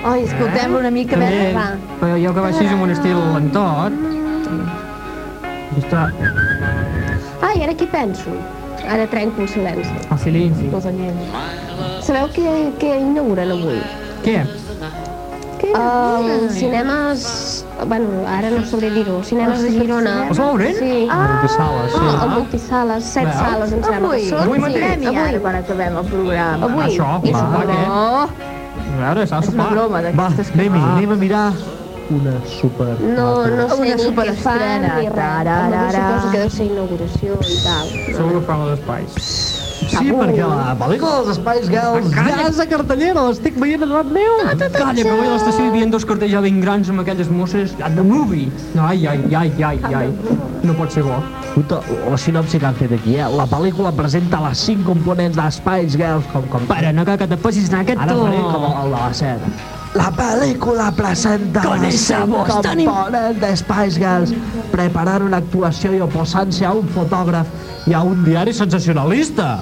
Ai, escoltem una mica, a També, veure. va. però jo que vaig així amb un estil lentot. Ostres, Ai, ara què penso? Ara trenco el silenci. El silenci. Sabeu què, què inauguren avui? Què? Els Eh, cinemes... Bueno, ara no sabré dir-ho. Els cinemes de Girona. Els Laurent? Sí. ah, Oh, multisales, sí. Ah, el multisales, set Veus? sales, em sembla que Avui. són. Avui mateix. Ah, Premi, Avui. ara, quan acabem el programa. Avui. Això, eh? I va, sopar. què? Oh, A veure, s'ha de és una sopar. broma Va, d'aquestes que... anem-hi, anem a mirar una super... No, no sé Una ni què fan superestrena. ni res. Home, jo suposo que deu ser inauguració i tal. Segur que fan els espais. Ah, Sí, perquè la pel·lícula dels Espais Gals ja és a cartellera, l'estic veient a davant meu. Calla, que avui a l'estació hi havia dos cartells ja ben grans amb aquelles mosses. At the movie! No, ai, ai, ai, ai, ai. No pot ser bo. Escolta, la sinopsi que han fet aquí, eh? La pel·lícula presenta les 5 components d'Espais Gals, com, com, Pare, no cal que te passis en aquest Ara to. faré com el de la set. La pel·lícula presenta Con les esa voz cinc tan im- components de Spice Girls preparant una actuació i oposant-se a un fotògraf i a un diari sensacionalista.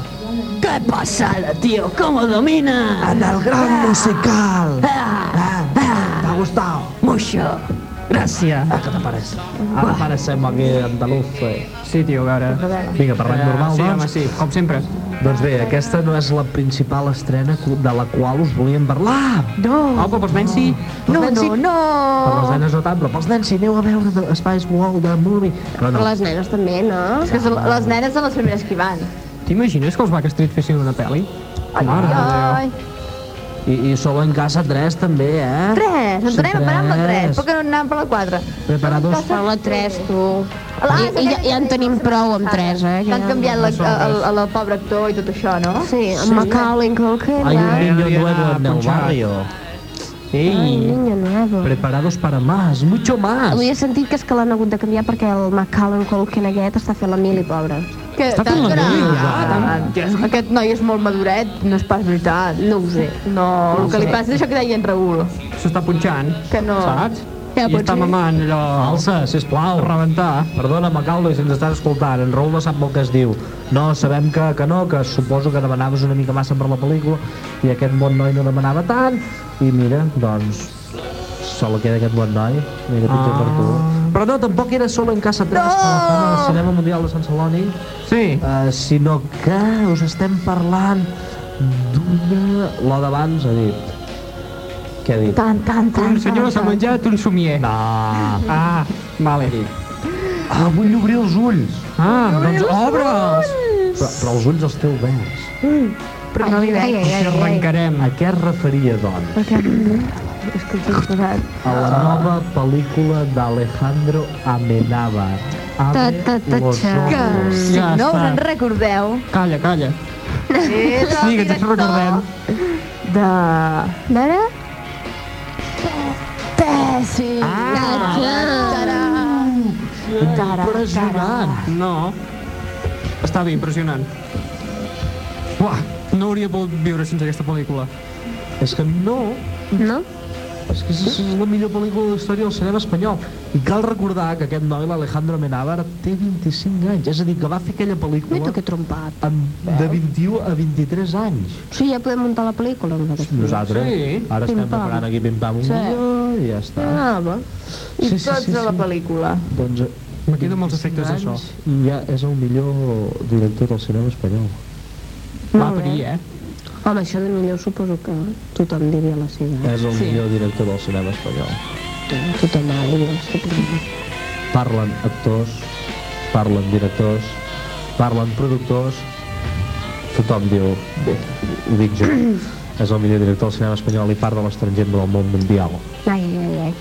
Què passada, tio? Com ho domina? En el gran musical. Eh? T'ha gustat? Muixo. Gràcies. Ah, que t'apareix. Ara apareixem aquí andalús. eh? Sí, tio, a veure. Vinga, parlem normal, Ah, sí, doncs. home, sí, com sempre. Doncs bé, aquesta no és la principal estrena de la qual us volíem parlar. Oh, però pels nens sí. No, Pels nens sí. no, no. Per les nenes no tant, però pels nens si aneu a veure The Spice World, The Movie... Però no, Però les nenes també, no? És que són les nenes són les primeres que hi van. T'imagines que els Backstreet fessin una pel·li? Mare de Déu. Ai. I, i solo en casa 3 també, eh? Tres, ens anem a parar amb la tres. Per què no anem per la quatre? Preparados. Per la 3, tu. Ah, I, i ja, ja en tenim prou amb 3, eh? T'han canviat la, el, el, el pobre actor i tot això, no? Sí, amb Macaulay Culkin, Hay un va. niño Adriana, nuevo en el punxar. barrio. Ai, Ei, niño nuevo. preparados para más, mucho más. Avui he sentit que és que l'han hagut de canviar perquè el Macaulay Culkin aquest està fent la mili, pobre. Que Ah, Està fent la mili, ja, tant. Aquest noi és molt maduret, no és pas veritat. No ho sé. No, el que li passa és això que deia en Raül. S'està punxant. Que no. Saps? Ja, I està potser. mamant allò... Alça, sisplau. A rebentar. Perdona, Macaulay, si ens estàs escoltant, en Raül no sap molt què es diu. No, sabem que, que no, que suposo que demanaves una mica massa per la pel·lícula i aquest bon noi no demanava tant. I mira, doncs, sol queda aquest bon noi. Mira, pitjor per tu. Ah. Però no, tampoc era solo en casa 3, no! al cinema mundial de Sant Celoni, Sí. eh, sinó que us estem parlant d'una... La d'abans ha dit. Què ha dit? Tan, tan, tan, Un senyor s'ha menjat un somier. No. Ah, vale. Ah, vull obrir els ulls. Ah, doncs obre'ls! Però, però els ulls els té oberts. Però no li veig. Així arrencarem. A què es referia, doncs? És que t'he posat. A la nova pel·lícula d'Alejandro Amenábar. Abre Ta, ta, ta, los cha. Que ojos. si Ja no us està. en recordeu, Calla, calla. és el Sí, que ens director recordem. de... A veure? Tessi. Ah. Impressionant. No. Està bé, impressionant. Uah, no hauria pogut viure sense aquesta pel·lícula. És que no, No? és que és, és la millor pel·lícula de la història del cinema espanyol. I cal recordar que aquest noi, l'Alejandro Amenábar, té 25 anys. És a dir, que va fer aquella Mira pel·lícula que trompat. amb, de 21 a 23 anys. Sí, ja podem muntar la pel·lícula nosaltres. Nosaltres, Sí. ara estem Pim-pam. preparant aquí pim-pam un guió i ja està. Ah, va. I Sí, sí, tots sí, a la sí. pel·lícula. Doncs Me quedo amb els efectes d'això. I ja és el millor director del cinema espanyol. Va per ahir, eh? Home, això de millor suposo que tothom diria la seva. És el millor director del cinema espanyol. Tothom va dir la seva. Parlen actors, parlen directors, parlen productors, tothom diu, bé, ho dic jo, és el millor director del cinema espanyol i part de l'estranger del món mundial. Ai, ai, ai.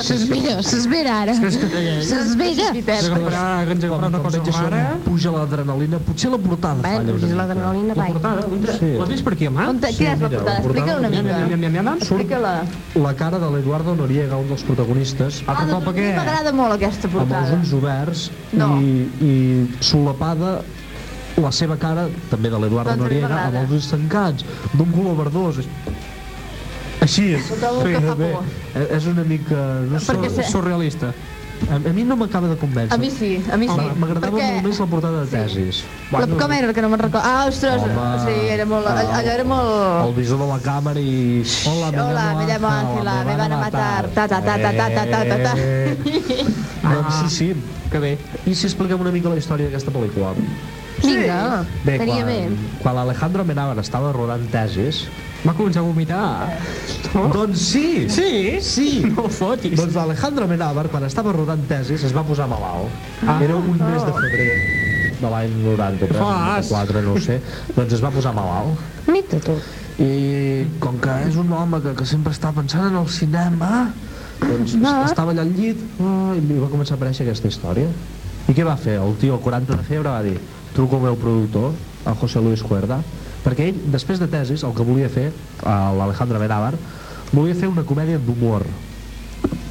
S'esvera, s'esvera ara. S'esvera. Comprar, que ens Com, comprar una com cosa veig això, com ara. puja l'adrenalina, potser la portada Bé, falla però una si és mica. l'adrenalina, La vai. portada, contra... Sí. L'has vist per aquí, home? On te, quina és la mira, portada? la portada- Explica una Miam, mica. miam, miam, miam, miam. Explica-la. La cara de l'Eduardo Noriega, un dels protagonistes, Ah, Altre doncs cop a mi aquest. m'agrada molt aquesta amb els portada. ulls oberts No. i, i solapada la seva cara, també de l'Eduardo Doncs a mi Noriega, m'agrada. amb els ulls tancats, d'un color verdós. Així és. trobo que fa por. Eh, És una mica... No sé, Perquè se- Surrealista. a, a mi no m'acaba de convèncer. A mi sí, a mi sí. Home, M'agradava perquè molt més la portada de tesis. La, com era que no me'n recordo? Ah, ostres, Home. sí, era molt... Ah. Allò era molt... El visor de la càmera i... Hola, me Hola, me llamo Ángela, me van a matar. Ta, ta, ta, ta, ta, ta, ta, ta, ta. Eh, Doncs sí, sí. Que bé. I si expliquem una mica la història d'aquesta pel·lícula? Vinga, Bé, estaria quan, bé. quan l'Alejandro Menabar estava rodant tesis... Va començar a vomitar. Doncs sí! Sí? Sí! No ho fotis. Doncs l'Alejandro Menabar, quan estava rodant tesis, es va posar malalt. Ah. Era un mes Oh. de febrer de l'any 93, fas? 94, no ho sé. Doncs es va posar malalt. Mita tu. I com que és un home que, que sempre està pensant en el cinema, doncs no. estava allà al llit ah, i va començar a aparèixer aquesta història. I què va fer? El tio, el 40 de febre, va dir truco al meu productor, el José Luis Cuerda, perquè ell, després de tesis, el que volia fer, eh, l'Alejandro Benavar, volia fer una comèdia d'humor.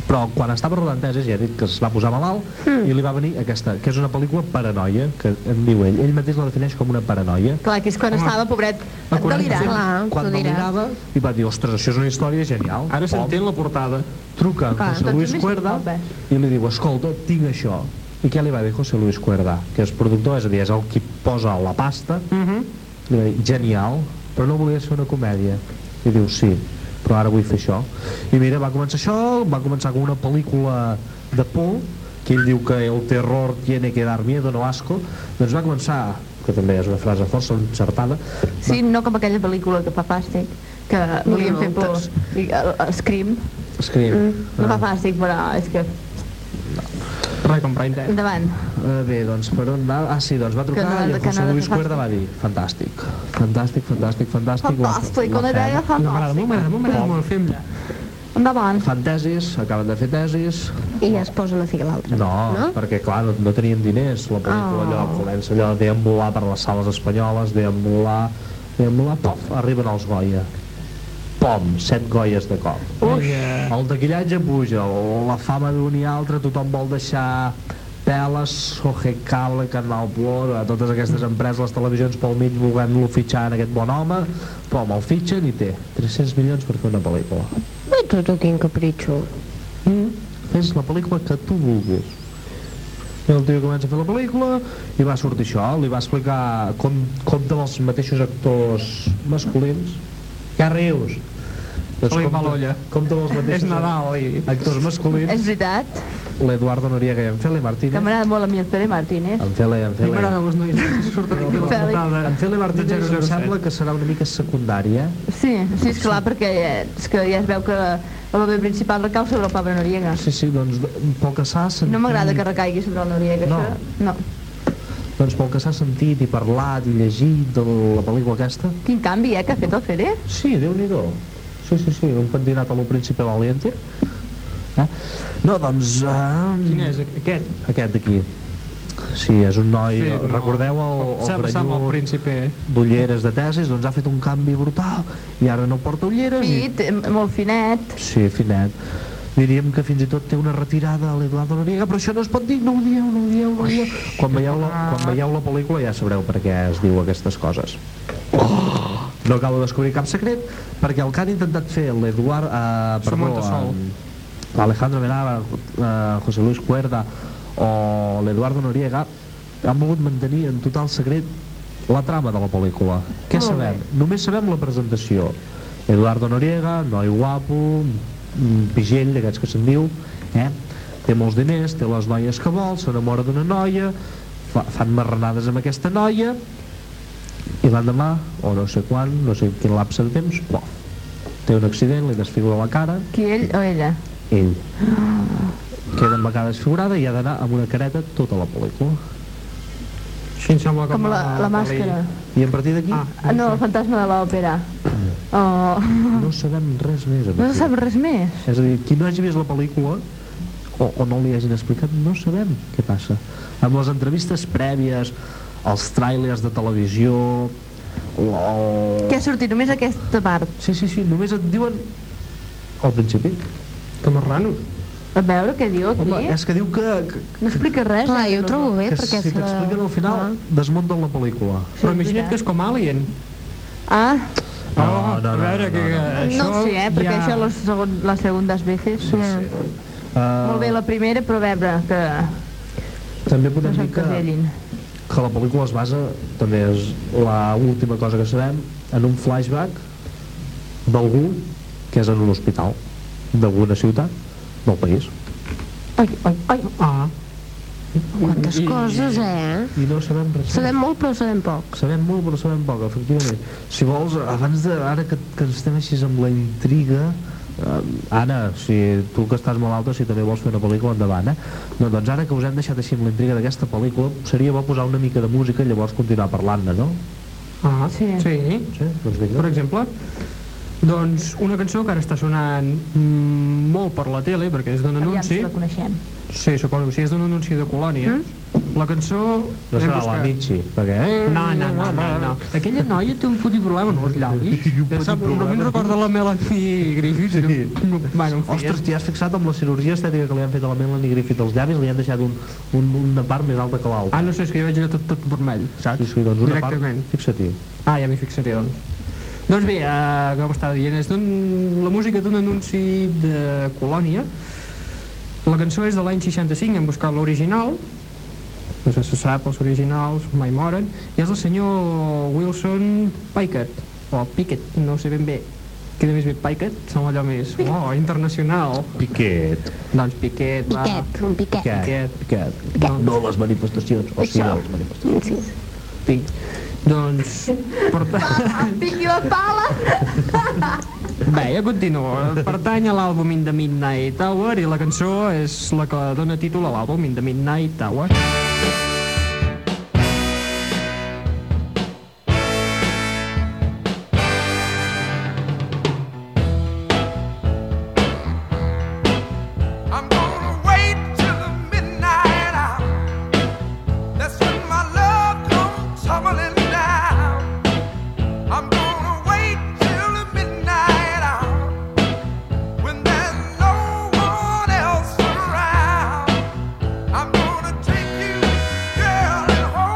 Però quan estava rodant tesis, ja he dit que es va posar malalt, i li va venir aquesta, que és una pel·lícula paranoia, que en diu ell. Ell mateix la defineix com una paranoia. Clar, que és quan estava, pobret, delirant. Clar, quan t'ho dirà. mirava i va dir, ostres, això és una història genial. Ara s'entén la portada. Truca a Clar, José doncs Luis més Cuerda guapa. i li diu, escolta, tinc això. I què li va dir José Luis Cuerda? Que és productor, és a dir, és el qui posa la pasta. Mhm. Li va dir, genial, però no volies fer una comèdia. I diu, sí, però ara vull fer això. I mira, va començar això, va començar com una pel·lícula de por, que ell diu que el terror tiene que dar miedo, no asco. Doncs va començar, que també és una frase força encertada, Sí, no com aquella pel·lícula que fa fàstic, que volien fer por. I, el, el Scream. escriu... No fa fàstic, però és que... Res, comprar internet. Endavant. Eh, Bé, doncs per on va? Ah, sí, doncs va trucar Que no- i el que José no- Luis Cuerda va dir fantàstic, fantàstic, fantàstic, fantàstic. la- Fantàstic, la una fem. idea No, m'agrada molt, fantàstica. m'agrada molt, m'agrada molt. Fem-la. Endavant. Fan tesis, acaben de fer tesis. I ja es posen a fer l'altre. No, No? perquè clar, no, no tenien diners. La Ah. pel·lícula allò comença allò a deambular per les sales espanyoles, deambular, deambular, pof, arriben els Goya. Pom, set Goyes de cop. Ui. El taquillatge puja, la fama d'un i altre, tothom vol deixar Peles, Sogecable, Canal Plor, a totes aquestes empreses, les televisions pel mig volent-lo fitxar en aquest bon home, però me'l fitxen i té 300 milions per fer una pel·lícula. Mita tu, quin capritxo. Fes la pel·lícula que tu vulguis. I el tio comença a fer la pel·lícula i va sortir això, li va explicar com, com dels mateixos actors masculins. Ja rius. Doncs Oli, compta- malolla. compta amb els mateixos És Nadal i... eh? actors masculins. És veritat l'Eduardo Noriega i en Fele que Martínez. m'agrada molt a mi el Pere Martínez. En Fele, en Fele. M'agrada les noies que surten aquí a la Fèlix. portada. En Fele Martínez em 007. sembla que serà una mica secundària. Sí, sí, és clar, perquè eh, és que ja es veu que el paper principal recau sobre el Pablo Noriega. Sí, sí, doncs pel que s'ha sentit... No m'agrada que recaigui sobre el Noriega, No. això. No. Doncs pel que s'ha sentit i parlat i llegit de la pel·lícula aquesta... Quin canvi, eh, que ha fet el Pere? Sí, déu nhi Sí, sí, sí, un pentinat a lo príncipe valiente. Eh? No, doncs... Quin Eh, és aquest? aquest d'aquí. Sí, és un noi... Sí, no. recordeu el, S'ha el passat amb el Granyut príncipe. d'ulleres de tesis, doncs ha fet un canvi brutal i ara no porta ulleres i Fit, eh, molt finet. Sí, finet. Diríem que fins i tot té una retirada a l'Eduardo Noriega, però això no es pot dir, no ho dieu, no ho dieu, no ho dieu. Quan veieu, la, quan veieu la pel·lícula ja sabreu per què es diu aquestes coses. Oh! No acabo de descobrir cap secret, perquè el que han intentat fer l'Eduard... Eh, Som perdó, on te sol. eh, Alejandro Benava, eh, José Luis Cuerda o l'Eduardo Noriega han volgut mantenir en total secret la trama de la pel·lícula. Què sabem? Només sabem la presentació. Eduardo Noriega, noi guapo, mm, pigell, d'aquests que se'n diu, eh? té molts diners, té les noies que vol, s'enamora d'una noia, fa, fan marranades amb aquesta noia, i l'endemà, o no sé quan, no sé en quin lapse de temps, bo, té un accident, li desfigura la cara, Qui, ell o ella? ell. Queda amb la cara desfigurada i ha d'anar amb una careta tota la pel·lícula. Així em sembla com... Com la, a- la màscara. I a partir d'aquí Ah, Ah, no, el fantasma de l'òpera. Oh, no sabem res més. no se sap res més. És a dir, qui no hagi vist la pel·lícula o, o no li hagin explicat, no sabem què passa. Amb les entrevistes prèvies, els tràilers de televisió... O... Què ha sortit? Només aquesta part. Sí, sí, sí, només et diuen al principi. Que marrano. A veure què diu aquí. Home, és que diu que, que, No explica res. Clar, eh, jo ho trobo bé, que perquè... si se la- Ah. t'expliquen al final, desmunten la pel·lícula. Sí, Però és imagina't veritat. que és com Alien. Ah, No, Oh, no, no, a veure, no, que, no, no ho sé, eh, perquè ja- això les, segon, les segundes veces... Sí, sí. Molt bé, la primera, però a veure que Eh, També podem no Doncs dir que, s'encasellin. que la pel·lícula es basa, també és la última cosa que sabem, en un flashback d'algú que és en un hospital d'alguna ciutat del país. Ai, ai, ai, Ah, quantes coses, eh? I no sabem res. Sabem molt, però sabem poc. Sabem molt, però sabem poc, efectivament. Si vols, abans de... Ara que, que estem així amb la intriga... Eh, Anna, si tu que estàs malalta, si també vols fer una pel·lícula, endavant, eh? No, doncs ara que us hem deixat així amb la intriga d'aquesta pel·lícula, seria bo posar una mica de música i llavors continuar parlant-ne, no? ah, Sí. sí. Sí? Doncs vinga. per exemple. Doncs una cançó que ara està sonant mm, molt per la tele, perquè és d'un Aviam si anunci. la coneixem. Sí, suposo, sí, és d'un anunci de colònia. Mm? La cançó... No l'hem serà la buscat. Mitxi, perquè... Eh? No, no, no, no, no. Aquella noia té un fotut problema amb els llavis. Ja sap, però a mi em recorda la Melanie Griffiths. Sí. Bueno, en fi, Ostres, és- t'hi has fixat amb la cirurgia estètica que li han fet a la Melanie Griffith als llavis, li han deixat un, un, una part més alta que l'altra. Ah, no sé, és que jo veig allò tot, tot vermell. Saps? Sí, sí, doncs una Directament. part... Fixa-t'hi. Ah, ja m'hi fixaré, doncs. Doncs bé, eh, com estava dient, és d'un, la música d'un anunci de Colònia. La cançó és de l'any 65, hem buscat l'original. No sé si se sap, els originals mai moren. I és el senyor Wilson Pickett, o Pickett, no sé ben bé. Queda més bé Pickett, sembla allò més... Oh, internacional. Piquet. Doncs Piquet, va. Piquet, un piquet. Piquet. Piquet. Piquet. No les manifestacions, o sí, les manifestacions. Sí. Pic. Doncs, per tant... Piqui la pala! Bé, ja continuo. Pertany a l'àlbum In the Midnight Tower i la cançó és la que dona títol a l'àlbum In the Midnight Tower. I'm gonna wait till the midnight hour. That's when my love comes tumbling down. I'm gonna wait till the midnight hour. When there's no one else around. I'm gonna take you Oh,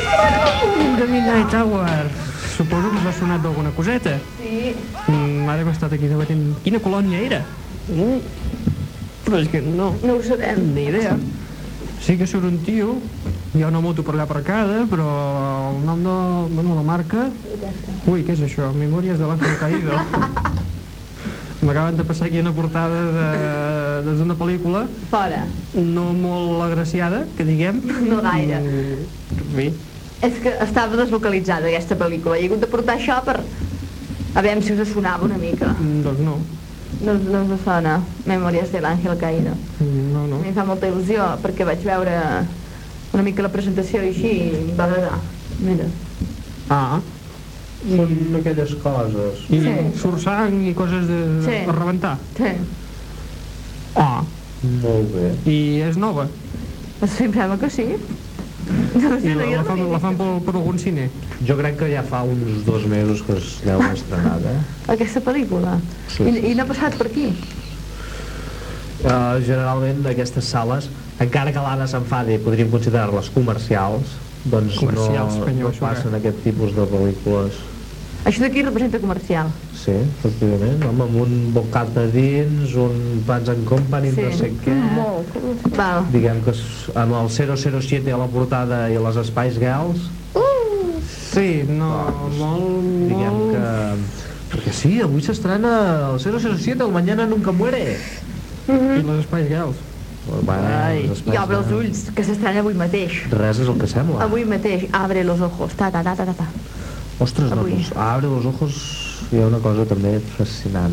Oh, Gavin Night Tower. Suposo que us ha sonat d'alguna coseta. Sí. Mm, ara que he estat aquí debatent quina colònia era. Mm. Però és que no, No ho sabem. ni idea. Sí que surt un tio, hi ha una moto per allà aparcada, però el nom de bueno, la marca... Ui, què és això? Memòries de l'Àngel Caído. M'acaben de passar aquí una portada de- des d'una pel·lícula Fora. no molt agraciada, que diguem. No gaire. Mm, bé, És que estava deslocalitzada aquesta pel·lícula. He hagut de portar això per... A veure si us sonava una mica. mm, doncs no. No, no us sona. Memòries de l'Àngel Caído. Mm, No, no. A mi em fa molta il·lusió perquè vaig veure una mica la presentació i així i em va agradar. Mira. Ah, Són aquelles coses. i Sí. surt sang i coses de, Sí. per rebentar. Sí. Ah, Molt bé. i és nova. Sí, em sembla que sí. No ho I sé, no, la, jo la, no fan, l'he la vist. fan per, per algun cine. Jo crec que ja fa uns dos mesos que es deu estrenar, eh? Aquesta pel·lícula. Sí, I, sí, I no ha passat per aquí. Uh, generalment d'aquestes sales, encara que l'Anna s'enfadi, podríem considerar-les comercials, doncs Comercials, no, senyor, no això passen aquest tipus de pel·lícules. Això d'aquí representa comercial. Sí, efectivament, home, amb un bocat de dins, un Pans and Company, Sí. no sé què... Molt. Val. Diguem que s- amb el 007 a la portada i les Spice Girls, Sí, no, molt, diguem molt... que... Perquè sí, avui s'estrena el 007, el Mañana Nunca Muere. Mm-hmm. I les Spice Girls. Ai, I obre els ulls, que s'estranya avui mateix. Res és el que sembla. Avui mateix, abre los ojos, ta, ta, ta, ta, ta, ta. Ostres, Avui. doncs, a Abre los ojos hi ha una cosa també fascinant.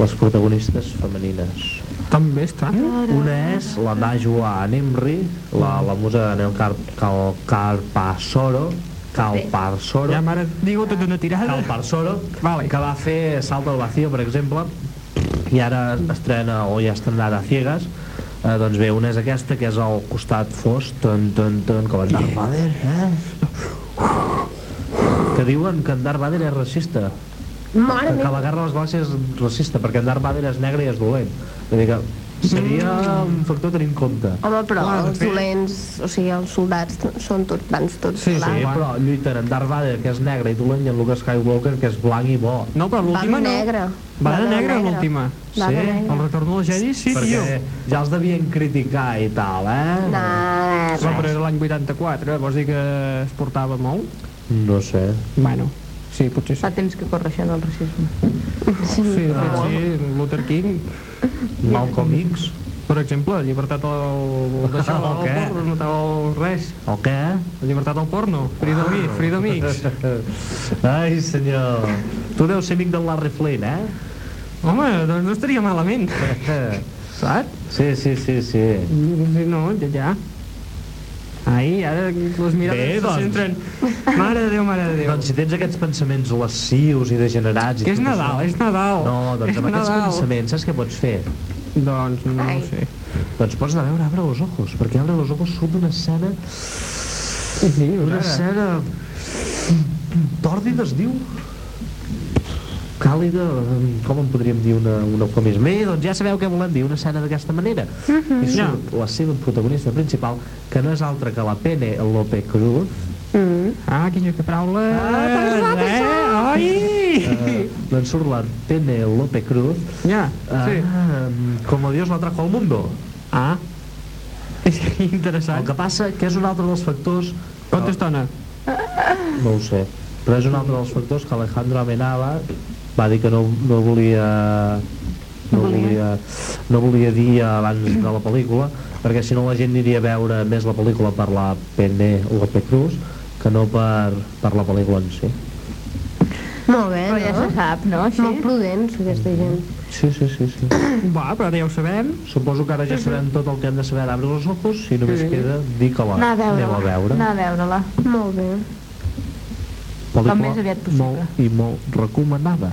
Les protagonistes femenines. També està. Una és la Najwa Nimri, la, la musa de Neo Car Cal Carparsoro, Calparsoro, Ja, mare, digo tot una tirada. Calparsoro, Vale. que va fer Salto al Vacío, per exemple, i ara estrena o ja estrenarà Ciegas, eh, doncs bé, una és aquesta, que és al costat fos, tan, tan, tan, com en Darth Vader, eh? Que diuen que en Darth Vader és racista. Mare Que meva. la guerra de les galàxies és racista, perquè en Darth Vader és negre i és dolent. Vull dir que seria un factor a tenir en compte. Mm. Home, però Clar, de els fet- dolents, o sigui, els soldats t- són tots, van tots Sí, sí. Sí, soldats. però lluiten en Darth Vader, que és negre i dolent, i en Luke Skywalker, que és blanc i bo. No, Va però de l'última no. negre. Va de negre l'última. Va de Sí? El negre. retorn dels Jedi, sí, tio. Perquè Eh, ja els devien criticar i tal, eh? No, Però però era l'any 84, eh? vols dir que es portava molt? No sé. Bueno, sí, potser sí. Fa temps que corre això del racisme. Sí, de fet, sí, Luther King, Malcolm X, per exemple, llibertat al... d'això, O al Oh, què? porno, no tal res. o què? Llibertat al porno, freedom, i- freedom X. Ai, senyor. Tu deus ser amic del Larry Flynn, eh? Home, doncs no estaria malament, saps? Sí, sí, sí, sí. Sí, no, ja, ja. Ai, ara les mirades Bé, se doncs. centren. Mare de Déu, mare de Déu. Doncs si tens aquests pensaments lascius i degenerats... i que és tot Nadal, això- és Nadal. No, doncs és amb aquests Nadal. pensaments saps què pots fer? Doncs no Ai. ho sé. Doncs pots anar a veure Abre los ojos, perquè Abre los ojos surt una escena Sí, Una escena... tòrdida es diu? Càlida, em, com en podríem dir una, un eufemisme? Bé, doncs ja sabeu què volem dir, una escena d'aquesta manera. I surt la seva protagonista principal, que no és altra que la Pene Lope Cruz, Ah, quina que paraula. Ah, eh? Ai! eh, doncs surt la Pene Lope Cruz, Ja, sí. eh, com a Dios la trajo al mundo. Ah. És que El interessant. que passa que és un altre dels factors, Quanta estona? no ho sé, però és un altre dels factors que Alejandro Amenaba va dir que no, no volia no volia, no volia dir abans de la pel·lícula perquè si no la gent aniria a veure més la pel·lícula per la Pene Lope Cruz que no per, per la pel·lícula en si Molt bé, Però ja se no? sap, no? Així. Molt prudents, aquesta gent. sí, sí, sí, sí. Va, però ara ja ho sabem. suposo que ara ja sabem tot el que hem de saber d'Abre los ojos i només queda dir que la Anar a anem a veure-la. veure Anar a veure-la. Molt bé. Com més aviat possible. molt i molt recomanada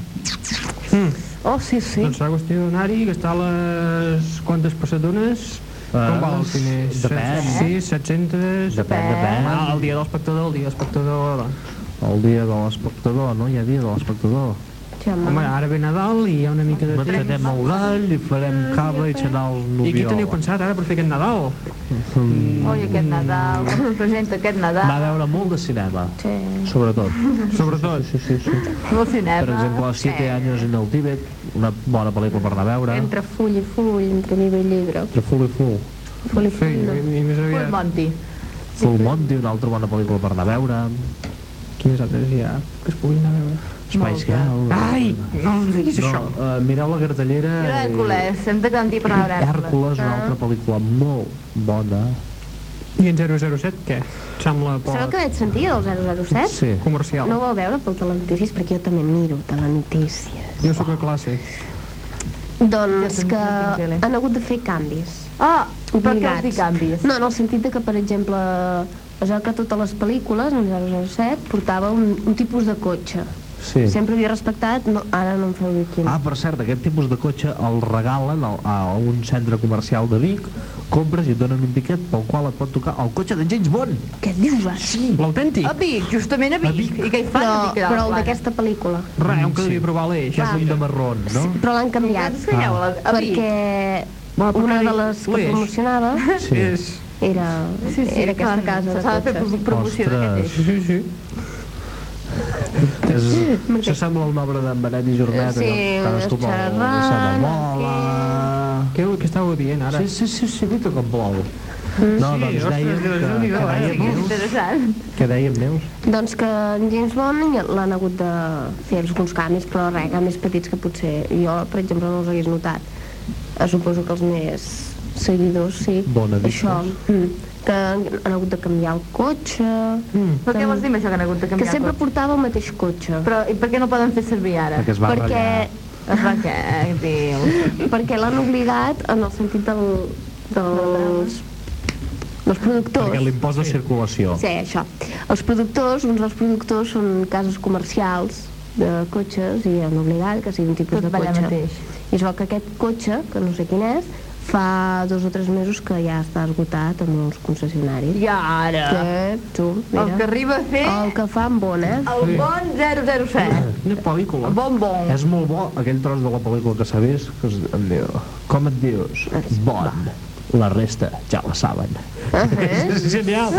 Oh, sí, sí. Doncs serà qüestió d'anar-hi, gastar les quantes pessedones. Com val el cine? depèn. Sí, 700... depèn, depèn Ah, el dia de l'espectador, el dia de l'espectador, doncs. El dia de l'espectador, no? Hi ha dia de l'espectador. Xamà. Home, ara ve Nadal i hi ha una mica de temps. Matarem el gall i farem cava i xanals I què n'Obiola. teniu pensat ara per fer aquest Nadal? Oi, aquest Nadal, com representa aquest Va Nadal? veure molt de cinema, Sí. sobretot. Sobretot. Sí, sí, sí. Molt cinema. Per exemple, 7 anys en el Tíbet, una bona pel·lícula per anar a veure. Entre full i full, entre llibre i llibre. Entre Full i Full. Full i Sí, full, no. i, i més Full aviat... Monty. Full Monty, una altra bona pel·lícula per anar a veure. Quines altres hi ha que es puguin anar a veure? Spice Girl. Ai, no em diguis No, això. uh, mireu la cartellera... Era i- Hércules, hem de garantir per anar a veure. Hèrcules, una altra pel·lícula molt bona. I en 007 què? Et Sembla Sabeu poc que vaig sentir el 007? Sí. comercial. No ho vau veure pel telenotícies, perquè jo també miro telenotícies. Jo sóc a classe. Doncs Ja tenim que la tele. han hagut de fer canvis. Ah, per què Obligats. els hi canvis? No, en el sentit de que, per exemple, es veu que totes les pel·lícules, en 007, portava un, un tipus de cotxe. Sí. Sempre havia respectat, no, ara no em feu dir quin. Ah, per cert, aquest tipus de cotxe el regalen al- a un centre comercial de Vic, compres i et donen un tiquet pel qual et pot tocar el cotxe d'en James Bond. Què dius, així? L'autèntic? A Vic, justament a Vic. I què hi fan a Però, Vic? però el d'aquesta pel·lícula. Res, hem que devia provar l'eix. És un de marron, no? Però l'han canviat. Què veieu a, a Vic? Perquè Va, per una què de dic les que l'eix? promocionava Sí. És... era, era aquesta clar, casa de S'ha de fer cotxes. pro- promoció d'aquest eix. Ostres, Sí, sí. és, s'assembla al nobre d'en Benet i Jornet. Sí, allò, cadascú vol- xerrant, s'ha de mola. Què, què estàveu dient ara? Sí, sí, sí, sí, dita que em plou. No, Sí, doncs ostres, dèiem que, Déu-n'hi-do, que eh? dèiem Que Neus, Interessant. que dèiem Neus. Doncs que en James Bond ja l'han hagut de fer alguns canvis, però res, canvis petits que potser jo, per exemple, no els hagués notat. Eh, suposo que els més seguidors, sí. Bona Això, mm, que han, han hagut de canviar el cotxe, mm. Però què vols dir amb això que han hagut de que canviar? sempre tot? portava el mateix cotxe. Però i per què no poden fer servir ara? Perquè es va perquè, Es va que... Diu. perquè l'han obligat en el sentit del, dels, dels productors. Perquè l'impost de circulació. Sí, això. Els productors, uns dels productors són cases comercials de cotxes i han obligat que sigui un tipus Tot de va allà cotxe. mateix. I es veu que aquest cotxe, que no sé quin és, fa dos o tres mesos que ja està esgotat en uns concessionaris. I ara... Que, tu, mira. El que arriba a fer... el que fa amb bon, eh? El bon 007. Una pel·lícula. Bon bon. És molt bo aquell tros de la pel·lícula que s'ha vist, que es, em diu, com et dius? Bon. La resta ja la saben. és genial.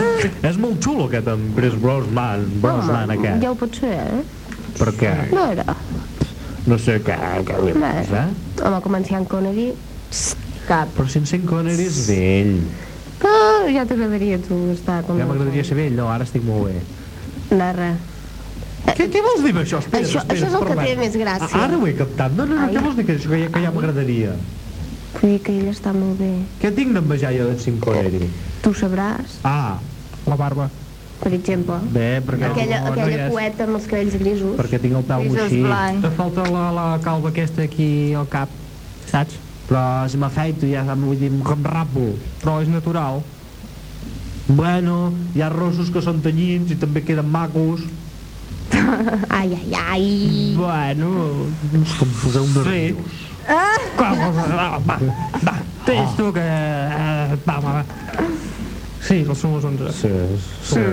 és molt xulo aquest amb Chris Brosnan, Brosnan aquest. ja ho pot ser, eh? Per què? A veure, No sé què, què li Bé. passa, eh? home, començar amb Connery, Cap. Però si en Sean Connery és vell. ah, ja t'agradaria tu estar com... Ja m'agradaria ser vell, no, ara estic molt bé. De res. Què, què vols dir amb Eh, això? Espera, Això- espera, això és el que parlem. té més gràcia. Ah, Ara ho he captat. No, no, no, Ai. què vols dir que, que, ja, que ja m'agradaria? Vull dir que ell està molt bé. Què tinc d'envejar jo d'en Sean Connery? Tu ho sabràs, Ah, La barba. per exemple. bé, perquè... Aquella, no, no aquella hi és. poeta amb els cabells grisos. perquè tinc el pèl Pisos moixí. blancs. Te falta la, la calva aquesta aquí al cap, saps? Però si m'afeito ja em vull dir com rapo. Però és natural. Bueno, hi ha rossos que són tanyins i també queden macos. Ai, ai, ai. Bueno... Com poseu un Sí. Ah! Com, va, va, va. Tens tu que... eh, Va, va, va. Sí, els són les 11. Sí, sí.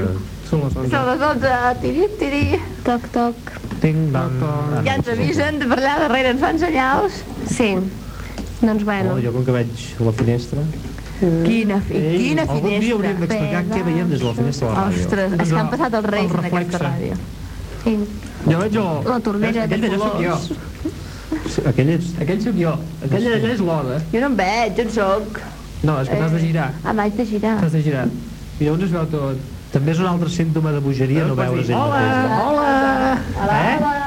Són les 11. Són les 12, tiri, tiri. Toc, toc. Tinc Ah, Toc, toc. Ja ens avisen, de per allà darrere ens fan senyals. Sí. Doncs bueno. Oh, jo com que veig la finestra... Quina, fi, Ei, quina Algun dia hauríem finestra. d'explicar què veiem des de la finestra de la ràdio. Ostres, és que han El- passat els reis el en aquesta reflexe. ràdio. Sí. Jo veig el... La tordera de aquell d'allà sóc colors. jo. Sí, Aquell és... Aquell sóc jo. Aquell d'allà és l'Oda. Jo no em veig, on sóc? No, és que t'has de girar. Ah, m'haig de girar. T'has de girar. I llavors es veu tot. També és un altre símptoma de bogeria no veure's ell Hola, mateix. hola. Hola, hola.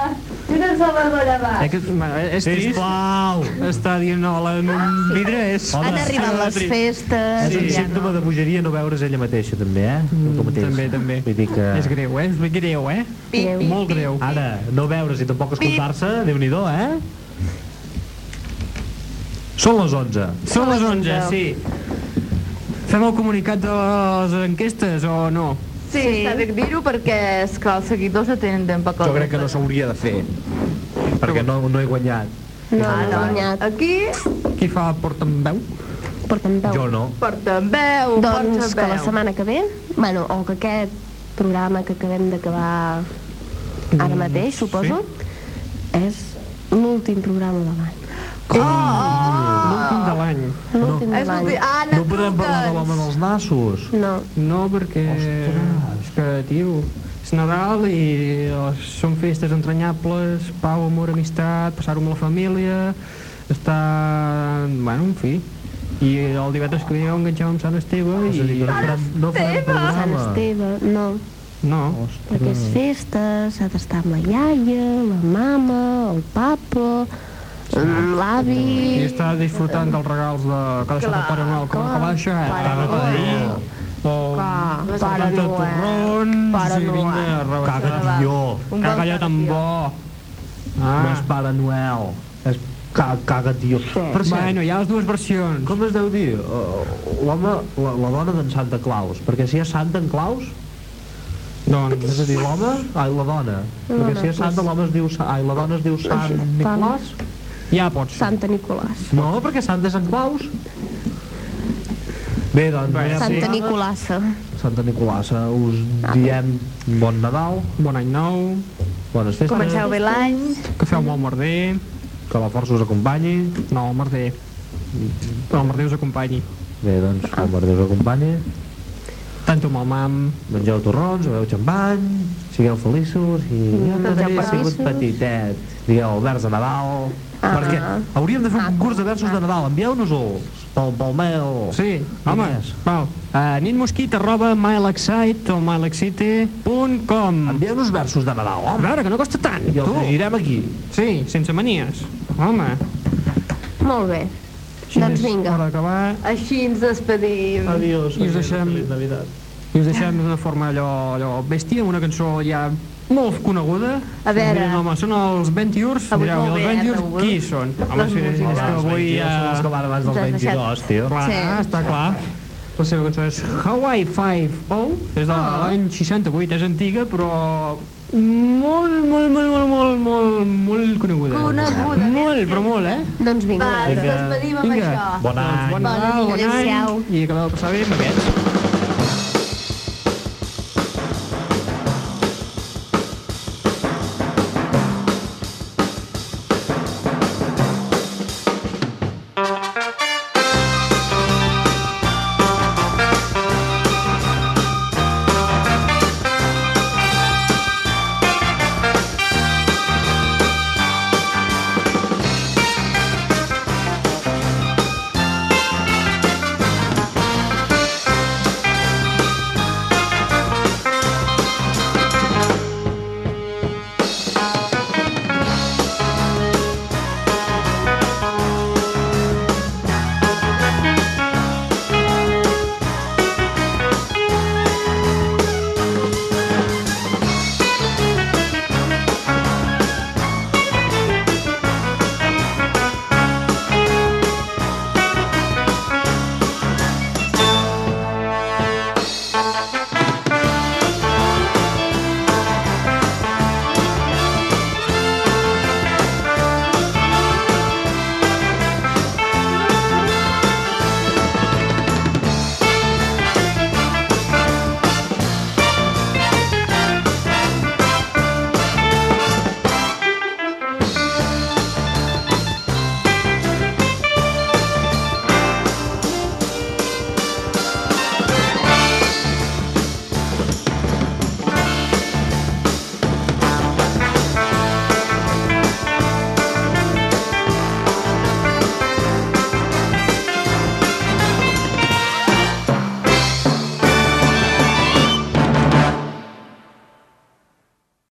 Tu no ets el Salvador Eh, Abad. que, ma, és trist. Sisplau! Està dient hola en un vidre és... Hola. Han arribat les festes. És un i ja símptoma de bogeria no veure's ella mateixa, també, eh? Tu mateix. també, també. Vull dir que... És greu, eh? És greu, eh? Greu. Molt greu. Ara, no veure's i tampoc escoltar-se, déu-n'hi-do, eh? Són les 11. Són les 11, sí. Fem el comunicat de les enquestes o no? Sí, està bé dir-ho perquè, esclar, els seguidors no tenen temps per Jo crec que no s'hauria de fer, perquè no, no he guanyat. No, no, no. guanyat. Aquí, Qui fa portaveu? Porta'm veu. Jo no. portaveu, Doncs que la portaveu. setmana que ve, bueno, o que aquest programa que acabem d'acabar ara mateix, suposo, és l'últim programa de l'any. L'últim de l'any. L'últim de És l'any. l'últim. Anna, No podem parlar de l'home dels nassos. No. No, perquè... És que, tio, és Nadal i eh, són festes entranyables, pau, amor, amistat, passar-ho amb la família, estar... Bueno, en fi. I el divendres que ve ho enganxem amb Sant Esteve És a dir, i... que no farem, no farem Ah, Sant programa. Esteve, no. No, Perquè Mm. és festa, s'ha d'estar amb la iaia, la mama, el papa, mm, i l'avi... està disfrutant dels regals de cada Sant Pare Noel que la baixa, ara de o Clar, Pare Pare Noel, Torrons, Pare i vinga, Noel. rebaixar. Caga tió. Un bon Caga allò tan bo. No Ah, és Pare Noel. És ca- caga tió. Per cert, bueno, hi ha les dues versions. Com es deu dir? Uh, L'home, la, la dona d'en Santa Claus, perquè si és Santa en Claus, Doncs, és a dir, l'home, ai, la dona, perquè si és Santa, l'home es diu, Sa- ai, la dona es diu Sant Nicolàs? ja pots. Santa Nicolàs. No, perquè Santa és en Claus. Bé, doncs, Bé, bé, sí. Santa Nicolassa. Santa Nicolàs, eh, us diem bon Nadal, Bon any nou, bones festes, Comenceu bé l'any. que feu un bon merder, que la força us acompanyi. no, el merder, però el merder us acompanyi. Bé, doncs, que el merder us acompanyi. Tanto amb el mam, Mengeu torrons, beveu xampany, sigueu feliços i... Jo no he sigut petitet. Digueu el vers de Nadal, Ah. perquè hauríem de fer un concurs de versos de Nadal, envieu-nos-els pel, pel mail. sí, home, Quin és? val, uh, nitmosquit arroba mylexite o mylexite.com. Envieu-nos versos de Nadal, A home, veure, que no costa tant, i els tu. llegirem aquí. Sí, sense manies, home. Molt bé. Així Doncs és vinga. Hora d'acabar. Així ens despedim. Adiós, I us deixem- feliç I us deixem d'una forma allò, allò bèstia, amb una cançó ja molt coneguda. A veure. Us direm, home, són els 20 Years. Avui Direu, molt els bé, 20 eh, Years, avui. qui són? Home, Les sí, és músiques. que avui... Ja... Són els que Ja... van abans dels Ens has deixat. 22, tio. Clar, Sí. està clar. La seva cançó és Hawaii 5-0, és de Ah. l'any 68, és antiga, però molt, molt, molt, molt, molt, molt, molt coneguda. Coneguda. Molt, però molt, eh? Doncs vinga. Va, ens despedim amb Vinga. Doncs això. Bon any. Bon Nadal, bon any, Adéu-siau. i acabeu de passar bé amb aquests.